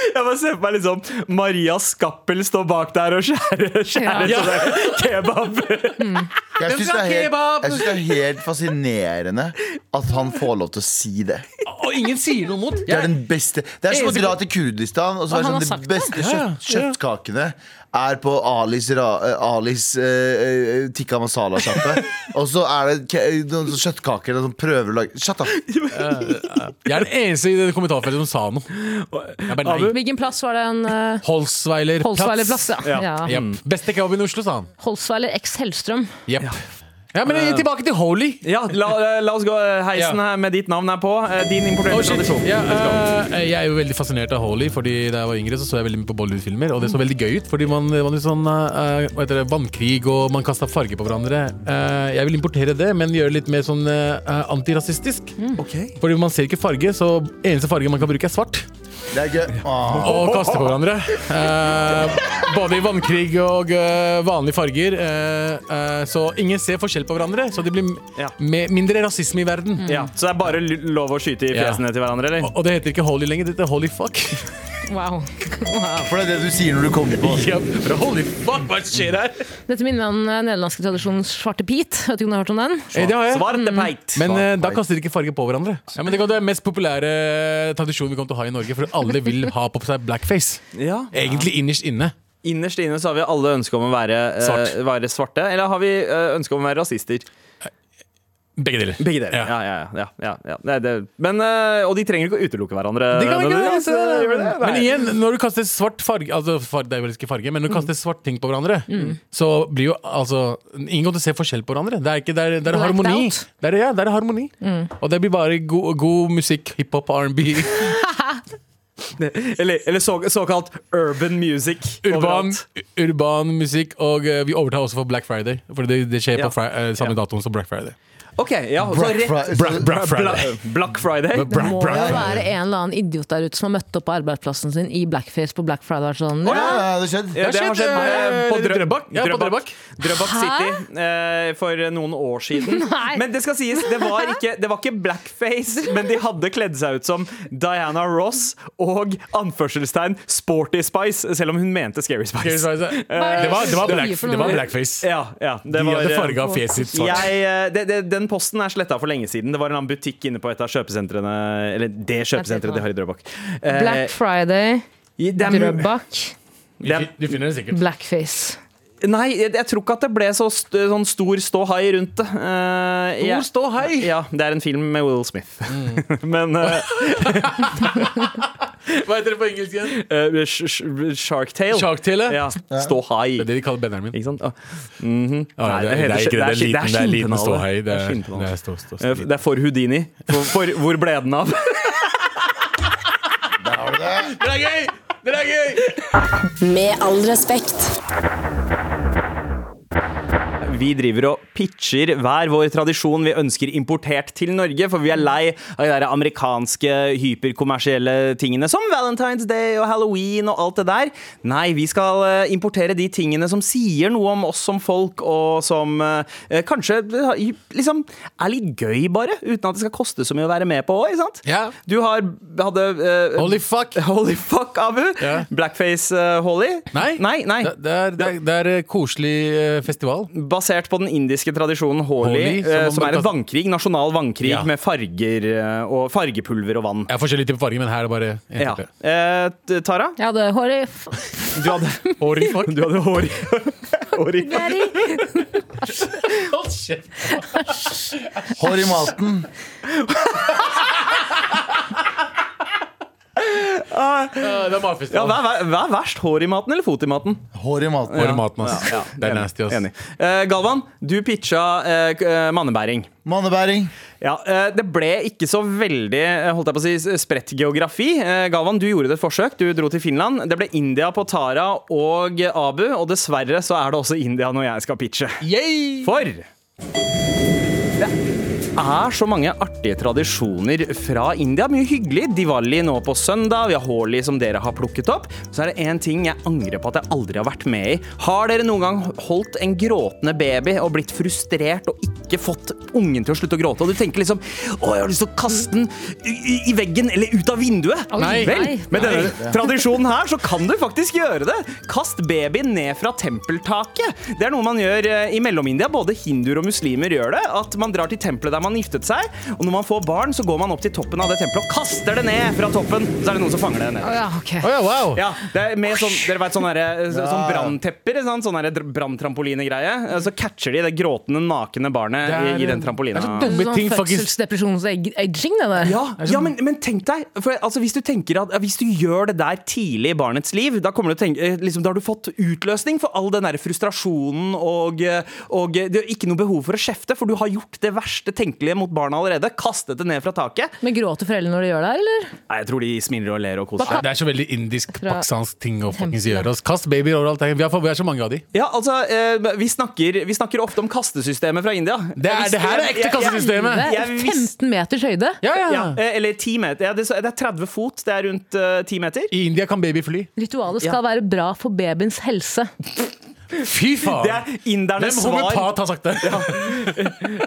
Speaker 2: Jeg bare ser på meg liksom Maria Skappel står bak der og skjærer, skjærer
Speaker 3: Ja.
Speaker 2: sånne kebab.
Speaker 4: Jeg syns
Speaker 3: skal
Speaker 4: det, er
Speaker 3: ha
Speaker 4: helt-
Speaker 3: kebab?
Speaker 4: jeg synes det er helt fascinerende at han får lov til å si det.
Speaker 3: Å, og ingen sier noe mot.
Speaker 4: Det er
Speaker 3: Jeg,
Speaker 4: den beste Det er som å
Speaker 3: Eneste-
Speaker 4: dra til Kurdistan og så
Speaker 5: Og
Speaker 4: være sånn
Speaker 5: han har
Speaker 4: De
Speaker 5: sagt det.
Speaker 4: beste
Speaker 3: Ja, ja.
Speaker 4: kjøtt, kjøttkakene er på Alis, ra, eh, Alis eh, eh, tikka masala-sjappe. og så er det ke- eh, noen sånne kjøttkaker som prøver å lage Shut up!
Speaker 3: jeg er den eneste i det kommentarfeltet som sa noe. Jeg bare nei.
Speaker 2: Abu?
Speaker 5: Hvilken plass var det en uh,
Speaker 3: Holsweiler
Speaker 5: Holsweiler plass?
Speaker 3: plass.
Speaker 5: Ja. Ja.
Speaker 3: Jep. Beste kebaben i Oslo, sa han.
Speaker 5: Holsweiler x Hellstrøm.
Speaker 3: Jep. Ja, men eh, tilbake til Holy.
Speaker 2: Ja, la, la oss gå. eh, Heisen
Speaker 3: Ja.
Speaker 2: her med ditt navn er på. Eh, Din importerte
Speaker 3: Oh, shit.
Speaker 2: tradisjon.
Speaker 3: Ja,
Speaker 2: Let's go.
Speaker 3: eh, jeg er jo veldig fascinert av Holly, Fordi da jeg var yngre så så jeg veldig mye på Bollywood-filmer. Og det så veldig gøy ut, fordi man det var litt sånn eh, hva heter det, vannkrig og man kasta farge på hverandre. Eh, jeg vil importere det, men gjøre det litt mer sånn eh, antirasistisk.
Speaker 2: Mm.
Speaker 3: Fordi man ser ikke farge, så eneste farge man kan bruke, er svart.
Speaker 4: Det er gøy. Åh.
Speaker 3: Og kaste på hverandre. Eh, både i vannkrig og eh, vanlige farger. Eh, eh, så ingen ser forskjell på hverandre, så det blir m-
Speaker 2: Ja.
Speaker 3: me- mindre rasisme i verden.
Speaker 2: Ja, så det er bare l- lov å skyte i
Speaker 3: Ja.
Speaker 2: fjesene til hverandre, eller?
Speaker 3: Og og det heter ikke Holy lenger, det heter Holy fuck.
Speaker 5: Wow.
Speaker 4: For det er det du sier når du kommer på.
Speaker 3: Ja, bra. Holy fuck, hva skjer her?
Speaker 5: Dette minner meg om den nederlandske tradisjonens svarte pit. Vet ikke om du har hørt om den?
Speaker 3: Eh, det har jeg.
Speaker 2: Svarte peit.
Speaker 3: Men eh, da
Speaker 4: Svart.
Speaker 3: kaster de ikke farge på hverandre. Ja, men Det kan være den mest populære eh, tradisjonen vi kommer til å ha i Norge, for alle vil ha på seg blackface.
Speaker 2: Ja.
Speaker 3: Egentlig innerst inne.
Speaker 2: Innerst inne så har vi alle ønske om å være, eh,
Speaker 3: Svart.
Speaker 2: være svarte. Eller har vi eh, ønske om å være rasister?
Speaker 3: Begge deler.
Speaker 2: Begge deler. Ja,
Speaker 3: Ja.
Speaker 2: ja, ja. ja, ja, ja. Nei, det, men, eh, og de trenger ikke å utelukke hverandre.
Speaker 3: Det kan vi ikke
Speaker 2: nødvendigvis,
Speaker 3: altså,
Speaker 2: eh, gjør
Speaker 3: men,
Speaker 2: det?
Speaker 3: men
Speaker 2: Nei.
Speaker 3: igjen, når du kaster svart farge Altså, far, det er vel ikke farge, men når du kaster svart ting på hverandre, så blir jo altså Ingen kommer til å se forskjell på hverandre. Det er, ikke, det er, det er
Speaker 5: Blacked
Speaker 3: harmoni.
Speaker 5: out.
Speaker 3: Det er, ja, det er harmoni. Og det blir bare god, god musikk. Hiphop, R&B,
Speaker 2: Eller, eller så, såkalt urban music.
Speaker 3: urban,
Speaker 2: overalt.
Speaker 3: urban musikk, og eh, vi overtar også for Black Friday. For det, det skjer
Speaker 2: Ja.
Speaker 3: på fri, eh, samme datoen som Black Friday.
Speaker 2: Ok, ja. Så
Speaker 4: Black
Speaker 2: rett,
Speaker 4: Fri-
Speaker 3: Black, Black Friday.
Speaker 2: Bla- Black Friday.
Speaker 5: Det må
Speaker 3: Black,
Speaker 5: jo
Speaker 3: Black.
Speaker 5: være en eller annen idiot der ute som har møtt opp på arbeidsplassen sin i blackface på Black Friday. og vært Sånn,
Speaker 4: Ja,
Speaker 5: ja,
Speaker 4: ja, det skjedde.
Speaker 2: Ja, det har skjedd meg på Drø-
Speaker 3: Drøbak. Ja, på Drøbak.
Speaker 2: Drøbak City eh, for noen år siden.
Speaker 5: Nei.
Speaker 2: Men det skal sies, det var, ikke, det var ikke blackface, men de hadde kledd seg ut som Diana Ross og anførselstegn Sporty Spice, selv om hun mente Scary
Speaker 3: Scary
Speaker 2: Spice.
Speaker 3: Spice, ja. Det var, det var,
Speaker 5: Hva er det
Speaker 3: black,
Speaker 5: for
Speaker 3: det var
Speaker 5: noe?
Speaker 3: blackface.
Speaker 2: Ja, ja, det
Speaker 3: De
Speaker 2: var, eh,
Speaker 3: hadde farga fjeset sitt svart.
Speaker 2: jeg, eh, det, det, den posten er sletta for lenge siden. Det var en annen butikk inne på et av kjøpesentrene Eller det kjøpesenteret de har i Drøbak. Eh,
Speaker 5: Black Friday,
Speaker 2: i- det er mul-
Speaker 5: Drøbak,
Speaker 2: det er-
Speaker 3: Du finner det sikkert.
Speaker 5: blackface.
Speaker 2: Nei, jeg, jeg tror ikke at det ble så st sånn stor ståhei rundt det. Eh, jeg-
Speaker 3: ståhei?
Speaker 2: Ja, det er en film med Will Smith. Men eh,
Speaker 3: Hva heter det på engelsk igjen?
Speaker 2: eh, sh sh Shark Tale.
Speaker 3: Sharktale?
Speaker 2: Ja,
Speaker 3: Det er
Speaker 2: Ståhei.
Speaker 3: det de kaller benderen min.
Speaker 2: Ikke sant? Ah,
Speaker 3: Ah,
Speaker 2: Nei,
Speaker 3: det,
Speaker 2: det
Speaker 3: det, er
Speaker 2: heter-
Speaker 3: ikke det, det er
Speaker 2: det er
Speaker 3: liten, det er liten
Speaker 2: skinnpennale.
Speaker 3: ståhei. Det
Speaker 2: Det er
Speaker 3: er,
Speaker 2: skinnpennale.
Speaker 3: det er stå, stå,
Speaker 2: eh,
Speaker 3: stå.
Speaker 2: Det er for Houdini. For, for, hvor ble den av?
Speaker 3: Dere er gøy! Dere er gøy!
Speaker 1: Med all respekt.
Speaker 2: Vi driver og pitcher hver vår tradisjon vi ønsker importert til Norge, for vi er lei av de der amerikanske hyperkommersielle tingene som Valentine's Day og Halloween og alt det der. Nei, vi skal eh, importere de tingene som sier noe om oss som folk, og som eh, kanskje eh, liksom er litt gøy, bare. Uten at det skal koste så mye å være med på òg, ikke sant?
Speaker 3: Ja.
Speaker 2: Du har, hadde eh,
Speaker 3: Holy fuck!
Speaker 2: Holy fuck, Abu.
Speaker 3: Ja.
Speaker 2: Blackface eh, Holly.
Speaker 3: Nei,
Speaker 2: Nei, nei.
Speaker 3: Det, det, er, det, er, det er eh, koselig eh, festival.
Speaker 2: Basert på den indiske tradisjonen holi,
Speaker 3: Holi,
Speaker 2: eh, som,
Speaker 3: som man-
Speaker 2: er en vannkrig, nasjonal vannkrig
Speaker 3: Ja.
Speaker 2: med farger eh, og fargepulver og vann.
Speaker 3: Jeg har forskjellige typer farger, men her er bare en
Speaker 2: Ja.
Speaker 3: type.
Speaker 2: Eh, t- Tara,
Speaker 5: Jeg hadde hår i
Speaker 2: du hadde,
Speaker 3: Holy fuck.
Speaker 2: du hadde hår, hår i
Speaker 5: Daddy.
Speaker 3: Hold kjeft.
Speaker 4: Hår i maten.
Speaker 3: Ja, Det er
Speaker 2: ja,
Speaker 3: matfestival.
Speaker 2: hva, er ver- hva er verst? Hår i maten eller fot i maten?
Speaker 4: Hår i maten.
Speaker 3: Bare maten, ass.
Speaker 2: Ja,
Speaker 3: Det er
Speaker 2: enig,
Speaker 3: nasty, ass.
Speaker 2: Enig. Eh, Galvan, du pitcha eh, k- eh, mannebæring.
Speaker 4: Mannebæring.
Speaker 2: Ja, eh, Det ble ikke så veldig eh, holdt jeg på å si, s- spredt geografi. Eh, Galvan, du gjorde et forsøk. Du dro til Finland. Det ble India på Tara og eh, Abu, og dessverre så er det også India når jeg skal pitche.
Speaker 3: Yay!
Speaker 2: For det er så mange artige tradisjoner fra India. Mye hyggelig. Diwali nå på søndag. Vi har Holi som dere har plukket opp. Så er det én ting jeg angrer på at jeg aldri har vært med i. Har dere noen gang holdt en gråtende baby og blitt frustrert og ikke ikke fått ungen til å slutte å gråte. Og du tenker liksom Å, jeg har lyst til å kaste den i, i veggen eller ut av vinduet.
Speaker 5: Nei.
Speaker 2: Vel,
Speaker 5: Nei.
Speaker 2: med denne tradisjonen her så kan du faktisk gjøre det. Kast babyen ned fra tempeltaket. Det er noe man gjør eh, i Mellom-India. Både hinduer og muslimer gjør det. At man drar til tempelet der man giftet seg, og når man får barn, så går man opp til toppen av det tempelet og kaster det ned fra toppen. Så er det noen som fanger det ned.
Speaker 5: Å ja, ok.
Speaker 3: Å ja, wow!
Speaker 2: Ja, det er mer sånn, dere vet sånne, her, eh, så- sånn branntepper, ikke sant? sånne her dr- branntrampoline-greie. Eh, Så catcher de det gråtende, nakne barnet i, i den
Speaker 3: Det er så
Speaker 2: trampolina.
Speaker 3: dumme
Speaker 5: Sånn
Speaker 3: ting, faktisk.
Speaker 5: fødselsdepresjons-edging, det der.
Speaker 2: Ja, ja men, men tenk deg, for altså, hvis, du tenker at, hvis du gjør det der tidlig i barnets liv, da, kommer du til å tenke, eh, liksom, da har du fått utløsning for all den der frustrasjonen og, eh, og eh, det er ikke noe behov for å kjefte, for du har gjort det verste tenkelige mot barna allerede. Kastet det ned fra taket.
Speaker 5: Men gråter foreldrene når de gjør det her, eller?
Speaker 2: Nei, jeg tror de smiler og ler og koser seg.
Speaker 3: Det er så veldig
Speaker 5: Fra-
Speaker 3: indisk-pakistansk ting å fuckings
Speaker 5: Tempelet.
Speaker 3: gjøre. ass. Kast babyer overalt. Vi har, vi har så mange av de.
Speaker 2: Ja, altså, eh, vi, snakker, vi snakker ofte om kastesystemet fra India.
Speaker 3: Det, er, det her er ekte kassesystemet!
Speaker 5: Det er
Speaker 2: Jeg visste-
Speaker 5: 15 meters høyde.
Speaker 3: Ja, ja.
Speaker 2: Ja, eh, eller 10 meter. Ja, det det er 30 fot, det er rundt eh, 10 meter.
Speaker 3: I India kan baby fly.
Speaker 5: Ritualet skal være bra for babyens helse.
Speaker 3: Fy faen!
Speaker 2: Det er indernes
Speaker 3: Hvem
Speaker 2: svar,
Speaker 3: homopat har sagt det?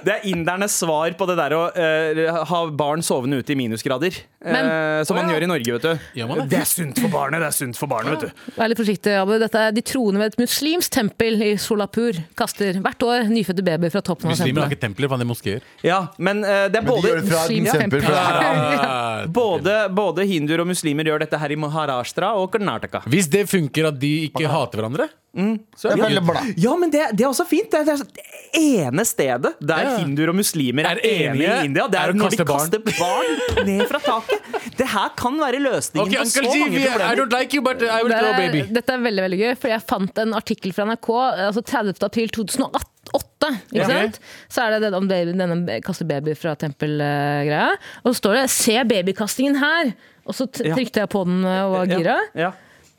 Speaker 2: det er indernes svar på det der å eh, ha barn sovende ute i minusgrader. eh,
Speaker 5: Men-
Speaker 2: som man
Speaker 5: Å, ja.
Speaker 2: gjør i Norge, vet du.
Speaker 3: Gjør man det?
Speaker 2: er sunt for barnet, det er sunt for barnet, vet du.
Speaker 5: Vær litt forsiktig, Abu. Dette er de troende ved et muslimsk tempel i Solapur. Kaster hvert år nyfødte babyer fra toppen av
Speaker 3: Muslimer har
Speaker 5: tempelet.
Speaker 3: ikke templer, faen, de er moskeer.
Speaker 2: Ja, men eh, det er
Speaker 4: Men de
Speaker 2: både
Speaker 4: gjør det fra et
Speaker 5: muslim-
Speaker 4: eksempel fra
Speaker 3: Ah,
Speaker 2: både, både hinduer og muslimer gjør dette her i Maharashtra og Karnataka.
Speaker 3: Hvis det funker at de ikke hater hverandre, så
Speaker 4: Det
Speaker 3: er
Speaker 4: er
Speaker 3: det
Speaker 4: veldig
Speaker 3: good.
Speaker 4: bra.
Speaker 2: Ja, men det, det er også fint. Det er det, er det ene stedet der
Speaker 3: Ja.
Speaker 2: hinduer og muslimer er,
Speaker 3: Er enige,
Speaker 2: enige i India, det
Speaker 3: er
Speaker 2: er,
Speaker 3: å
Speaker 2: når
Speaker 3: kaste
Speaker 2: de kaster barn ned fra taket. Det her kan være løsningen
Speaker 3: Ok,
Speaker 2: på så
Speaker 3: Uncle G,
Speaker 2: mange
Speaker 3: vi- I
Speaker 2: problemer.
Speaker 3: don't like you, but I will throw a
Speaker 5: Det
Speaker 3: baby.
Speaker 5: er, dette er veldig veldig gøy, for jeg fant en artikkel fra NRK altså 30. april 2008. Ikke
Speaker 3: Ja.
Speaker 5: sant? Så er det den om baby, denne be- kaste baby fra tempel-greia. Og så står det 'se babykastingen her'! Og så t-
Speaker 2: Ja.
Speaker 5: trykte jeg på den eh, og var gira.
Speaker 2: Ja, ja.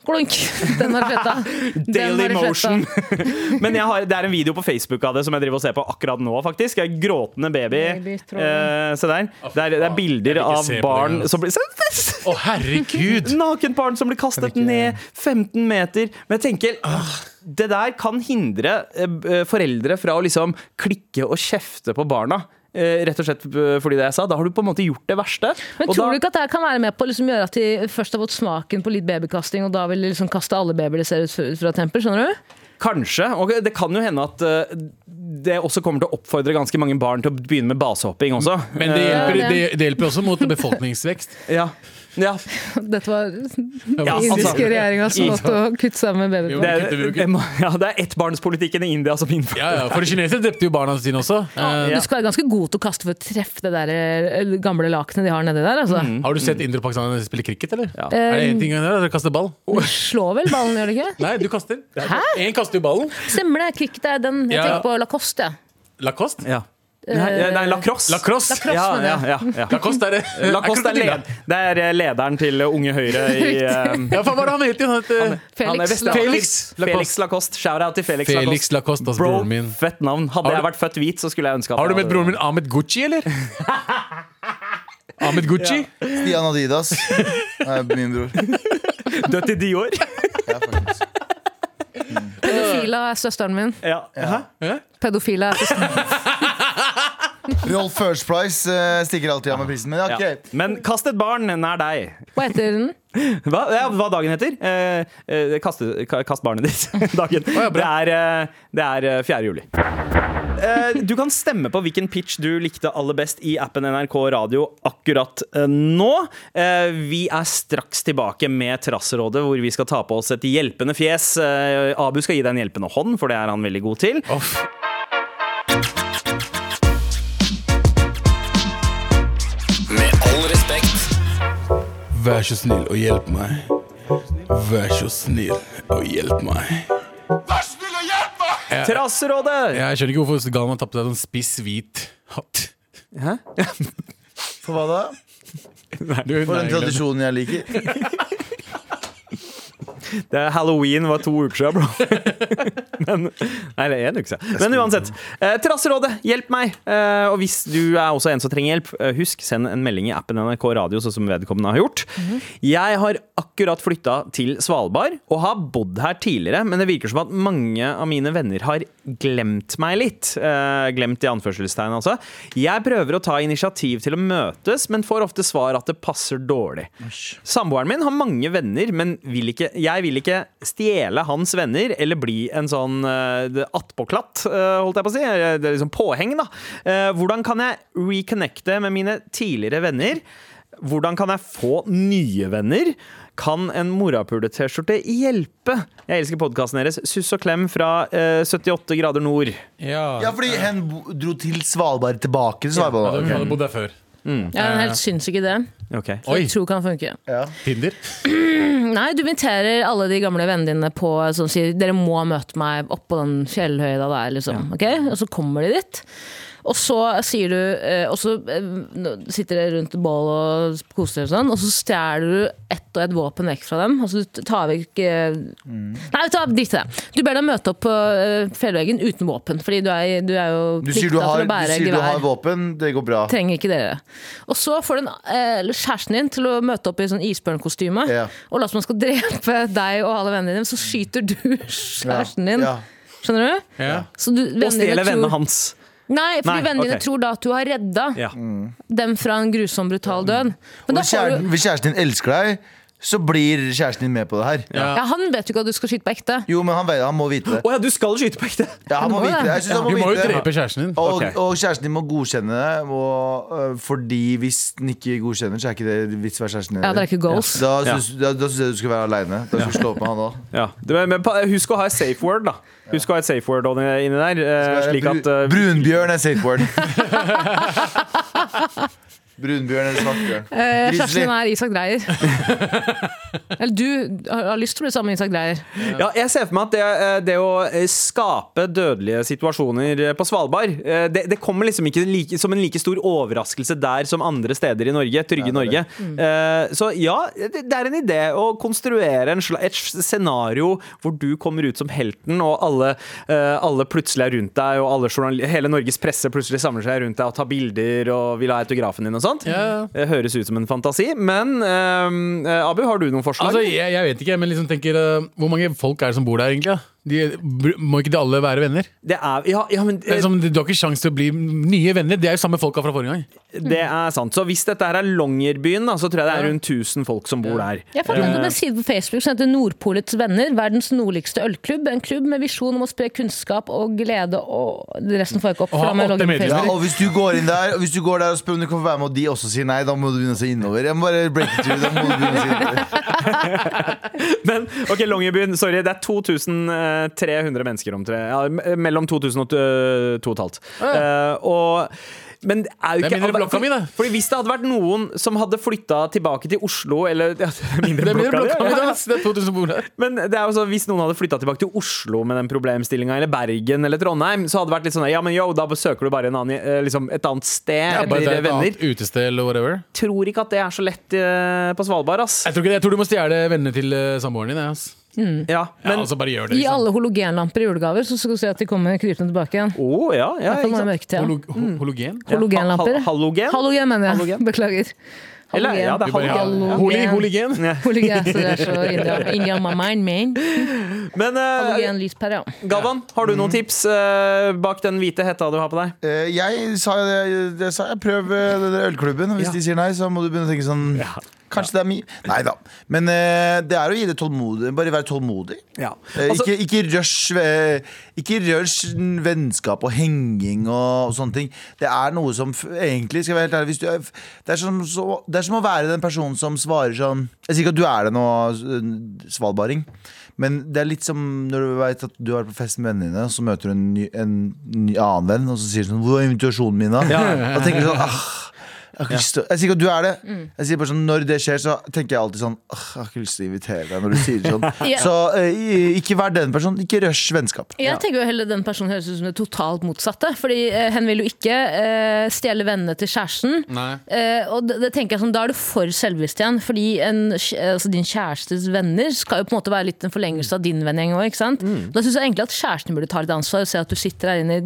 Speaker 5: Klunk! Den har du sletta. Den
Speaker 2: Daily
Speaker 5: har du sletta.
Speaker 2: Motion. Men jeg har, det er en video på Facebook av det som jeg driver og ser på akkurat nå, faktisk. Jeg er gråtende baby.
Speaker 5: Baby, tror jeg.
Speaker 2: eh, se der. Det er, det er bilder
Speaker 3: Ah, Jeg vil ikke
Speaker 2: av
Speaker 3: se på det
Speaker 2: barn
Speaker 3: engang.
Speaker 2: som blir se-
Speaker 3: Å, herregud!
Speaker 2: Nakent barn som blir kastet ned 15 meter. Men jeg tenker
Speaker 3: Ah.
Speaker 2: ah, Det der kan hindre eh, b- eh, foreldre fra å liksom klikke og kjefte på barna. Eh, Rett og slett eh, fordi det jeg sa. Da har du på en måte gjort det verste.
Speaker 5: Men
Speaker 2: Og
Speaker 5: tror
Speaker 2: da-
Speaker 5: du ikke at det her kan være med på å liksom gjøre at de først har fått smaken på litt babykasting, og da vil de liksom kaste alle babyer de ser ut fra- fra tempel? Skjønner du?
Speaker 2: Kanskje. Og det kan jo hende at eh, det også kommer til å oppfordre ganske mange barn til å begynne med basehopping også.
Speaker 3: Men det hjelper,
Speaker 5: Ja,
Speaker 3: det,
Speaker 5: det-
Speaker 3: det hjelper også mot befolkningsvekst.
Speaker 2: Ja. ja.
Speaker 5: Dette var
Speaker 2: Ja,
Speaker 5: den
Speaker 2: altså-
Speaker 5: indiske regjeringa som måtte å kutte sammen med
Speaker 3: Jo,
Speaker 5: babyer.
Speaker 2: Det er,
Speaker 3: kutter vi jo ikke.
Speaker 2: det må- ja, det er ettbarnspolitikken i India som innfører
Speaker 3: Ja, ja, For kinesere drepte jo barna sine også. Eh,
Speaker 5: Du skal være ganske god til å kaste for å treffe det der eh, gamle lakenet de har nedi der. Altså.
Speaker 3: Eh, Har du sett indrepakistanere spille cricket, eller?
Speaker 2: Ja.
Speaker 3: Er det én ting å gjøre, eller kaste ball?
Speaker 5: Du slår vel ballen, gjør du ikke?
Speaker 3: Nei, du kaster.
Speaker 5: Hæ?
Speaker 3: Én kaster jo ballen.
Speaker 5: Stemmer det. Cricket er den. Jeg
Speaker 3: Ja.
Speaker 5: tenker på lacoste. jeg.
Speaker 3: Lacoste.
Speaker 2: ja. Nei, nei, lacrosse.
Speaker 3: Lacrosse.
Speaker 5: Lacrosse.
Speaker 2: Ja, ja, ja, ja.
Speaker 3: Lacoste er det.
Speaker 2: Lacoste er,
Speaker 3: Krokodillen.
Speaker 2: led, det er eh, lederen til Unge Høyre i eh,
Speaker 3: Ja, faen, hva er det han het igjen? Han het, eh,
Speaker 2: han er
Speaker 5: Felix.
Speaker 2: Vestland-
Speaker 5: Lacoste.
Speaker 3: Felix Lacoste.
Speaker 2: Felix Lacoste. Shout-out til Felix,
Speaker 3: Felix Lacoste, altså
Speaker 2: Bro,
Speaker 3: broren min.
Speaker 2: fett navn. Hadde
Speaker 3: Har du-
Speaker 2: jeg vært født hvit, så skulle jeg ønske at
Speaker 3: Har du
Speaker 2: jeg
Speaker 3: møtt broren min Ahmed Gucci, eller? Ahmed Gucci?
Speaker 4: Stian Adidas. Nei, min bror.
Speaker 2: hadde dødd i Dior.
Speaker 4: Ja, faktisk.
Speaker 5: Pedofila er søsteren min.
Speaker 2: Ja. Hæ?
Speaker 5: Pedofila er søsteren min.
Speaker 4: Rolf First Price eh, stikker alltid av med prisen. Men
Speaker 2: Ja.
Speaker 4: ok,
Speaker 2: Men kast et barn nær deg.
Speaker 5: Hva heter den?
Speaker 2: Hva, ja, hva dagen heter? Eh, eh, kaste- ka- kast barnet ditt. Dagen.
Speaker 3: ja,
Speaker 2: det,
Speaker 3: bra.
Speaker 2: er, eh, det er eh, 4. juli. Eh, du kan stemme på hvilken pitch du likte aller best i appen NRK Radio akkurat eh, nå. Eh, vi er straks tilbake med Trassrådet, hvor vi skal ta på oss et hjelpende fjes. Eh, Abu skal gi deg en hjelpende hånd, for det er han veldig god til.
Speaker 3: Off.
Speaker 6: Med all respekt.
Speaker 7: Vær så snill og hjelp meg. Vær så snill og hjelp meg.
Speaker 2: Trassrådet!
Speaker 3: Jeg skjønner ikke hvorfor Galvan tapte seg sånn spiss hvit hatt.
Speaker 4: For hva da?
Speaker 3: Du,
Speaker 4: For den
Speaker 3: nei, glem det.
Speaker 4: tradisjonen jeg liker.
Speaker 2: Det er Halloween var to uker siden, bro. Men, nei, det er en uke siden. Men uansett. Eh, Terrasserådet, hjelp meg! Eh, og hvis du er også en som trenger hjelp, eh, husk, send en melding i appen NRK Radio, sånn som vedkommende har gjort. Jeg har akkurat flytta til Svalbard, og har bodd her tidligere, men det virker som at mange av mine venner har glemt meg litt. Eh, glemt i anførselstegn, altså. Jeg prøver å ta initiativ til å møtes, men får ofte svar at det passer dårlig. Samboeren min har mange venner, men vil ikke, jeg vil ikke stjele hans venner eller bli en sånn eh, det- attpåklatt, eh, holdt jeg på å si. eh, Det er liksom påheng, da. Eh, Hvordan kan jeg reconnecte med mine tidligere venner? Hvordan kan jeg få nye venner? Kan en morapule-T-skjorte hjelpe? Jeg elsker podkasten deres. Suss og klem fra eh, 78 grader nord.
Speaker 4: Ja, fordi hen bo- dro til Svalbard tilbake til
Speaker 3: Ja,
Speaker 4: Svalbard.
Speaker 3: da,
Speaker 4: ok.
Speaker 3: hun hadde bodd der før.
Speaker 5: Jeg er helt sinnssyk i det.
Speaker 2: Ok.
Speaker 3: Mm. Eh. Oi,
Speaker 5: Jeg tror kan funke.
Speaker 3: Tinder.
Speaker 5: Nei, du inviterer alle de gamle vennene dine på som sier dere må møte meg oppå den fjellhøyda der, liksom. ok? Og så kommer de dit. Og så sier du eh, Og så eh, nå sitter dere rundt et bål og koser dere og sånn, og så stjeler du ett og ett våpen vekk fra dem. Altså du tar vekk eh,
Speaker 4: Mm.
Speaker 5: Nei, vet du hva, drit i det. Du ber dem møte opp på eh, fjellveggen uten våpen, fordi du er, du er jo
Speaker 4: Du sier du
Speaker 5: plikta
Speaker 4: har,
Speaker 5: til å
Speaker 4: du
Speaker 5: bære
Speaker 4: sier du har
Speaker 5: gevær.
Speaker 4: våpen, det går bra.
Speaker 5: Trenger ikke dere. Og så får den, eh, eller kjæresten din til å møte opp i sånn isbjørnkostyme.
Speaker 4: Ja.
Speaker 5: Og la oss som han skal drepe deg og alle vennene dine, så skyter du kjæresten din.
Speaker 4: Ja.
Speaker 5: Skjønner du?
Speaker 3: Ja.
Speaker 5: Så du
Speaker 2: Og stjele vennene hans.
Speaker 5: Nei, fordi
Speaker 2: Nei,
Speaker 5: vennene dine
Speaker 2: ok.
Speaker 5: tror da at du har redda
Speaker 2: Ja.
Speaker 5: dem fra en grusom, brutal død. Men da
Speaker 4: Hvis
Speaker 5: får
Speaker 4: kjæresten,
Speaker 5: du
Speaker 4: hvis kjæresten din elsker deg, så blir kjæresten din med på det her.
Speaker 5: ja, Han vet jo ikke at du skal skyte på ekte.
Speaker 4: Jo, men han, vet, han må vite
Speaker 2: Å
Speaker 4: det.
Speaker 2: ja, du skal skyte på ekte!
Speaker 4: Ja, han må
Speaker 5: må
Speaker 4: vite det.
Speaker 5: det.
Speaker 4: Jeg synes han
Speaker 3: Du
Speaker 4: må
Speaker 3: må jo
Speaker 4: vite det.
Speaker 3: drepe kjæresten din.
Speaker 4: Og,
Speaker 2: Ok.
Speaker 4: og kjæresten din må godkjenne det, og, øh, fordi hvis den ikke godkjenner, så er ikke det vits å være kjæresten din.
Speaker 5: Ja, det er ikke goals.
Speaker 4: Da syns da, da syns jeg du skal være aleine. Da skal du slå opp med han òg.
Speaker 2: Ja. Du, men pa- husk å ha et safe word, da. Husk å ha et safe word inni der, eh, slik at eh,
Speaker 4: Brunbjørn er safe word. Brunbjørn eller svartbjørn. Grizzly.
Speaker 5: Eh, kjæresten din er Isak Dreyer. eller du har, har lyst til å bli sammen med Isak Dreyer.
Speaker 2: Ja, jeg ser for meg at det, eh, det å eh, skape dødelige situasjoner eh, på Svalbard, eh, det, det kommer liksom ikke like, som en like stor overraskelse der som andre steder i Norge. Trygge Norge.
Speaker 3: Mm.
Speaker 2: Eh, Så ja, det det er en idé å konstruere en sla, et scenario hvor du kommer ut som helten, og alle, eh, alle plutselig er rundt deg, og alle journal- hele Norges presse plutselig samler seg rundt deg og tar bilder og vil ha autografen din og sånt.
Speaker 3: Ja.
Speaker 2: Det høres ut som en fantasi, men eh, eh, Abu, har du noen forslag?
Speaker 3: Altså, jeg, jeg vet ikke, men liksom tenker eh, Hvor mange folk er det som bor der, egentlig? da? De, br- må ikke de alle være venner?
Speaker 2: det er, ja, ja, men, eh,
Speaker 3: Det
Speaker 7: Eh,
Speaker 3: er liksom, du har ikke sjanse til å bli nye venner. Det er jo samme folka fra forrige gang.
Speaker 5: Mm.
Speaker 2: Det er sant. Så hvis dette her er Longyearbyen, da, så tror jeg det er rundt 1000 folk som bor der.
Speaker 5: Jeg fant
Speaker 2: Eh.
Speaker 5: ut om en side på Facebook som heter Nordpolets venner. Verdens nordligste ølklubb. En klubb med visjon om å spre kunnskap og glede og Det Resten får jeg ikke opp.
Speaker 3: Og ha
Speaker 5: for da må jeg
Speaker 3: åtte
Speaker 5: logge inn på
Speaker 3: medlemmer.
Speaker 4: Ja,
Speaker 5: Facebook.
Speaker 4: og hvis du går inn der og hvis du går der og spør om du kan få være med, og de også sier nei, da må du begynne å se innover. Jeg må bare break it through. Da må du begynne å se innover.
Speaker 2: Men ok, Longyearbyen, sorry, det er 2300 mennesker omtrent. Ja, mellom 2000 og eh, 2500. Eh, og men det er jo
Speaker 3: Det er
Speaker 2: ikke
Speaker 3: mindre blokka mi, det.
Speaker 2: Fordi Hvis det hadde vært noen som hadde flytta tilbake til Oslo eller ja, det er mindre
Speaker 3: Det blir
Speaker 2: blokka,
Speaker 3: blokka
Speaker 2: mi,
Speaker 3: mi,
Speaker 2: ja.
Speaker 3: da, ass. Det er 2000 som bor der.
Speaker 2: Men det er jo sånn, hvis noen hadde flytta tilbake til Oslo med den problemstillinga, eller Bergen eller Trondheim, så hadde det vært litt sånn Ja, men yo, da søker du bare en annen, eh, liksom, et annet sted.
Speaker 3: Ja, bare det
Speaker 2: eller
Speaker 3: er et
Speaker 2: venner.
Speaker 3: annet utested eller whatever.
Speaker 2: tror ikke at det er så lett eh, på Svalbard, ass.
Speaker 3: Jeg tror, ikke, det. jeg tror du må stjele vennene til eh, samboeren din. jeg, Ass.
Speaker 2: Ja,
Speaker 3: Ja,
Speaker 2: men
Speaker 3: altså bare gjør det,
Speaker 5: Gi
Speaker 3: liksom.
Speaker 5: alle halogenlamper i julegaver, så skal du se at de kommer krypende tilbake igjen.
Speaker 2: Å, ja, ja,
Speaker 5: I hvert
Speaker 2: ikke
Speaker 5: fall nå i
Speaker 2: sant.
Speaker 5: mørketida.
Speaker 3: Holo ho- hologen?
Speaker 5: Halogenlamper.
Speaker 2: Ha- ha- halogen?
Speaker 5: Halogen, mener jeg.
Speaker 2: Halogen.
Speaker 5: Beklager.
Speaker 2: Eller,
Speaker 5: Halogen.
Speaker 2: ja, det er
Speaker 3: Bare, ja.
Speaker 2: halogen.
Speaker 5: Halogen.
Speaker 3: Holi, holigen.
Speaker 5: Hologen, så det er så India- India my mind, man.
Speaker 2: Men eh,
Speaker 5: Halogen lyspære, ja.
Speaker 2: Galvan, har du noen tips eh, bak den hvite hetta du har på deg?
Speaker 4: Eh, Jeg sa jo det, det sa jeg. Prøv eh, den der ølklubben. og Hvis
Speaker 2: Ja.
Speaker 4: de sier nei, så må du begynne å tenke sånn Kanskje det er mi Nei da. Men eh, det er å gi det tålmodig. Bare være tålmodig.
Speaker 2: Ja.
Speaker 4: Eh,
Speaker 2: Altså,
Speaker 4: ikke, ikke, rush, eh, ikke rush vennskap og henging og, og sånne ting. Det er noe som f egentlig skal jeg være helt ærlig, hvis du er, f- det, er som, så, det er som å være den personen som svarer sånn Jeg sier ikke at du er det nå, eh, svalbarding, men det er litt som når du vet at du har vært på fest med vennene dine, og så møter du en, ny, en ny annen venn, og så sier du sånn Hvor er invitasjonen min, da?
Speaker 2: Ja.
Speaker 4: Og tenker du sånn ah, Jeg, har ikke lyst til å- jeg sier ikke at du er det. Jeg sier bare sånn, Når det skjer, så tenker jeg alltid sånn «Åh, Jeg har ikke lyst til å invitere deg når du sier sånn.
Speaker 5: Ja.
Speaker 4: Så eh, i- ikke vær den personen. Ikke rush vennskap.
Speaker 5: Jeg tenker jo heller den personen høres ut som det totalt motsatte. Fordi eh, hen vil jo ikke eh, stjele vennene til kjæresten.
Speaker 3: Nei.
Speaker 5: Eh, og det, det tenker jeg sånn, Da er du for selvbevisst igjen. Fordi en, kj- altså din kjærestes venner skal jo på en måte være litt en forlengelse av din vennegjeng òg.
Speaker 4: Mm.
Speaker 5: Da syns jeg egentlig at kjæresten burde ta litt ansvar og se at du sitter her inne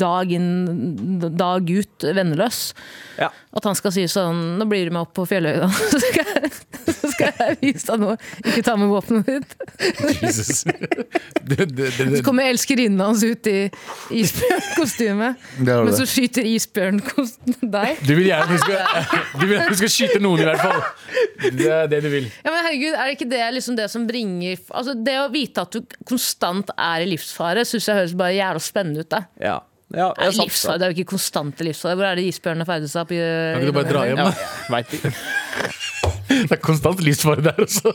Speaker 5: dag inn, dag ut, venneløs.
Speaker 2: Ja.
Speaker 5: At han skal si sånn Nå blir du med opp på Fjelløy, da. Så skal jeg, så skal jeg vise deg noe. Ikke ta med våpenet ditt.
Speaker 3: Jesus. det, det, det,
Speaker 5: Så kommer elskerinnen hans ut i isbjørnkostyme.
Speaker 4: Det er det.
Speaker 5: Men så skyter isbjørnkostyme deg.
Speaker 3: Du vil gjerne at hun skal, du vil at hun skal skyte noen, i hvert fall. Det er det du vil.
Speaker 5: Ja, men herregud, Er det ikke det liksom det som bringer Altså Det å vite at du konstant er i livsfare, syns jeg høres bare jævla spennende ut. Da.
Speaker 2: Ja. ja
Speaker 5: Nei,
Speaker 2: jeg
Speaker 5: livsfare, det er jo ikke konstant i livsfare. Hvor er det isbjørnene ferdes opp?
Speaker 3: Kan ikke du bare dra hjem? da?
Speaker 2: Veit ikke.
Speaker 3: Det er konstant livsfare der også.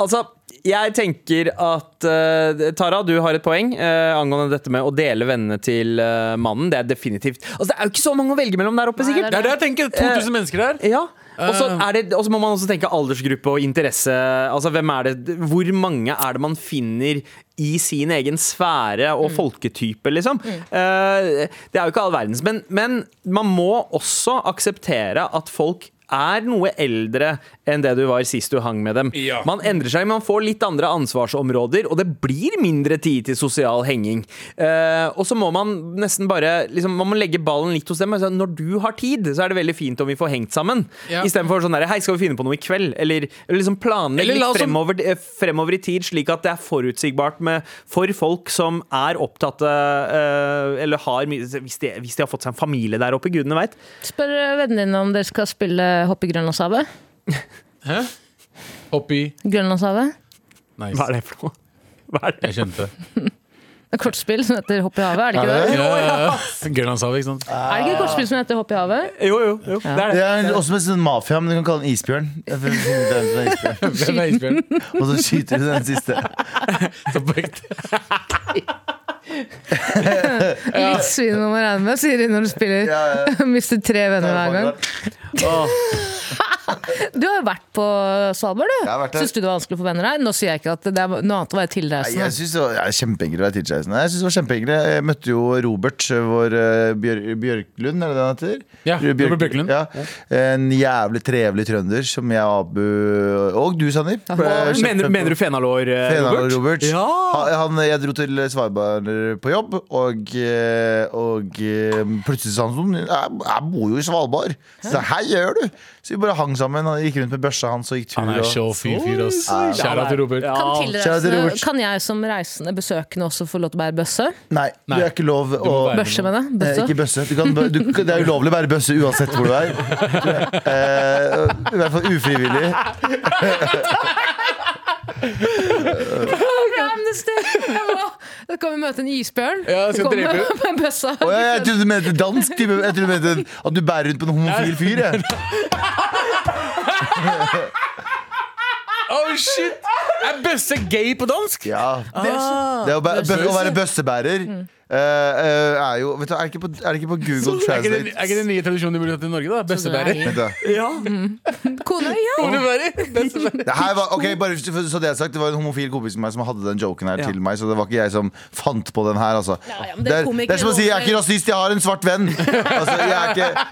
Speaker 2: Altså, jeg tenker at eh, Tara, du har et poeng eh, angående dette med å dele vennene til eh, mannen. Det er definitivt Altså, det er jo ikke så mange å velge mellom der oppe,
Speaker 5: Nei,
Speaker 2: sikkert.
Speaker 3: Det er det jeg tenker. 2000 mennesker der.
Speaker 2: Ja. Og så er det- og så må man også tenke aldersgruppe og interesse. Altså, hvem er det, hvor mange er det man finner i sin egen sfære og folketype, liksom? Eh, det er jo ikke all verdens. Men, men man må også akseptere at folk er noe eldre enn det du var sist du hang med dem.
Speaker 7: Ja.
Speaker 2: Man endrer seg, man får litt andre ansvarsområder, og det blir mindre tid til sosial henging. Eh, og så må man nesten bare liksom, Man må legge ballen litt hos dem. Altså, når du har tid, så er det veldig fint om vi får hengt sammen.
Speaker 3: Ja.
Speaker 2: Istedenfor sånn der, Hei, skal vi finne på noe i kveld? Eller, eller liksom planlegge
Speaker 3: Eller la
Speaker 2: litt
Speaker 3: oss-
Speaker 2: fremover, eh, fremover i tid, slik at det er forutsigbart med, for folk som er opptatt eh, Eller har mye hvis de, hvis de har fått seg en familie der oppe, gudene veit.
Speaker 5: Spør eh, vennene dine om dere skal spille hopp i Grønlandshavet.
Speaker 3: Hæ? Oppi
Speaker 5: Grønlandshavet.
Speaker 2: Hva
Speaker 3: Nice.
Speaker 2: er det for noe? Hva er det?
Speaker 3: Jeg skjønte.
Speaker 5: Et kortspill som heter Hopp i havet, er det ikke
Speaker 4: Er
Speaker 5: det?
Speaker 4: det?
Speaker 3: Ja, ja. Grønlandshavet, ikke sant.
Speaker 5: Er det ikke et kortspill som heter Hopp i havet?
Speaker 2: Jo, jo, jo. Det er
Speaker 4: Det
Speaker 2: det.
Speaker 4: er også med sånn mafia, men du kan kalle den isbjørn. Det er for- det er for isbjørn.
Speaker 3: Hvem er isbjørnen?
Speaker 4: Og så skyter du den siste.
Speaker 3: Så på ekte.
Speaker 5: Litt svin om å regne med, sier de når du spiller.
Speaker 4: Ja,
Speaker 5: Mister tre venner hver gang.
Speaker 2: Åh.
Speaker 5: Du har jo vært på Svalbard, du.
Speaker 4: Jeg har vært der.
Speaker 5: Syns du det var vanskelig å få venner der? Nå sier jeg ikke at det er noe annet å være
Speaker 4: Nei,
Speaker 5: tilreisende.
Speaker 4: Jeg syns det var ja, kjempeenkelt å være tidsreisende. Jeg synes det var kjempeenkelt. Jeg møtte jo Robert, vår eh, Bjør Bjørklund, er det det han heter?
Speaker 3: Ja,
Speaker 4: Bjør-
Speaker 3: Robert Bjørklund.
Speaker 4: Ja. En jævlig trevelig trønder som jeg og Abu Og du, Sandeep. ble kjempe-
Speaker 2: Mener, mener du fenalår, eh,
Speaker 4: Fena
Speaker 2: Robert?
Speaker 4: og Robert.
Speaker 2: Ja.
Speaker 4: Han, han- jeg dro til Svalbard på jobb, og, eh, og eh, plutselig sa han sånn jeg, 'Jeg bor jo i Svalbard'. Så jeg, hei, gjør du? Så vi bare hang sammen. Han gikk rundt med børsa hans og gikk tur.
Speaker 3: Han er
Speaker 4: og,
Speaker 3: så fyr, fyr, ass. Kjære til Robert.
Speaker 2: Ja.
Speaker 5: Kan,
Speaker 4: Kjære til
Speaker 5: tilreisende,
Speaker 4: Robert.
Speaker 5: kan jeg som reisende besøkende også få lov til å bære bøsse?
Speaker 4: nei,
Speaker 3: Nei.
Speaker 4: det er ikke lov å
Speaker 3: være med.
Speaker 5: Børse, mener jeg.
Speaker 4: Eh,
Speaker 5: Bøsse.
Speaker 4: ikke bøsse. Du kan, du, det er ulovlig å bære bøsse uansett hvor du er. Eh, I hvert fall ufrivillig.
Speaker 5: Amnesty! Jeg må, da kan vi møte en isbjørn.
Speaker 3: Ja, jeg skal
Speaker 5: Kommer
Speaker 3: drepe
Speaker 5: med en bøsse.
Speaker 4: Å, jeg, jeg trodde du mente dansk. Type. Jeg trodde du mente at du bærer rundt på en homofil fyr. Jeg.
Speaker 3: Oh shit! Er bøsse gay på dansk?
Speaker 4: Ja.
Speaker 5: Ah.
Speaker 4: Det å, bæ bø å være bøssebærer
Speaker 5: Mm.
Speaker 4: eh, eh, er jo vet du, er, det ikke på, er det ikke på Google
Speaker 3: Sånn Er ikke, det,
Speaker 4: Translate?
Speaker 3: er ikke det nye tradisjonen de burde hatt i Norge, da? Bøssebærer.
Speaker 4: Vent da.
Speaker 2: Ja.
Speaker 5: Kone, ja.
Speaker 3: Bøssebærer. Bøssebærer.
Speaker 4: Det her var, ok, bare for- så Det er sagt Det var en homofil kompis med meg som hadde den joken her
Speaker 2: Ja.
Speaker 4: til meg. Så det var ikke jeg som fant på den her. Altså.
Speaker 5: Ja, ja, men det
Speaker 4: det,
Speaker 5: er
Speaker 4: er,
Speaker 5: komikere
Speaker 4: det er som å si 'jeg er ikke
Speaker 5: også.
Speaker 4: rasist, jeg har en svart venn'. Altså, jeg er ikke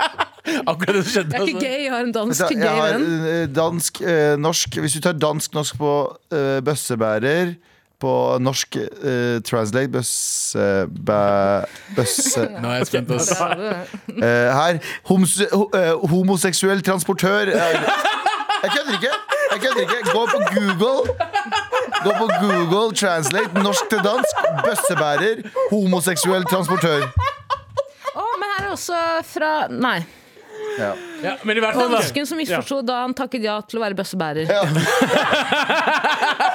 Speaker 3: Akkurat det som skjedde.
Speaker 5: Jeg er ikke
Speaker 3: altså.
Speaker 5: gay, jeg har en
Speaker 4: Så
Speaker 5: dansk
Speaker 4: jeg
Speaker 5: gay
Speaker 4: har
Speaker 5: venn.
Speaker 4: eh, dansk, eh, norsk Hvis du tar dansk, norsk på eh, bøssebærer På norsk eh, translate Bøssebæ... Bøsse
Speaker 3: Nå er jeg spent, ass.
Speaker 5: Der har du det.
Speaker 4: eh, Her homs, ho, eh, Homoseksuell transportør er, Jeg kødder ikke Jeg kødder ikke Gå på Google Gå på Google Translate Norsk til dansk Bøssebærer Homoseksuell transportør
Speaker 5: Å, men her er også fra Nei.
Speaker 4: ja.
Speaker 3: Ja, men i hvert fall, da.
Speaker 5: Dansken som misforsto da han takket ja til å være bøssebærer.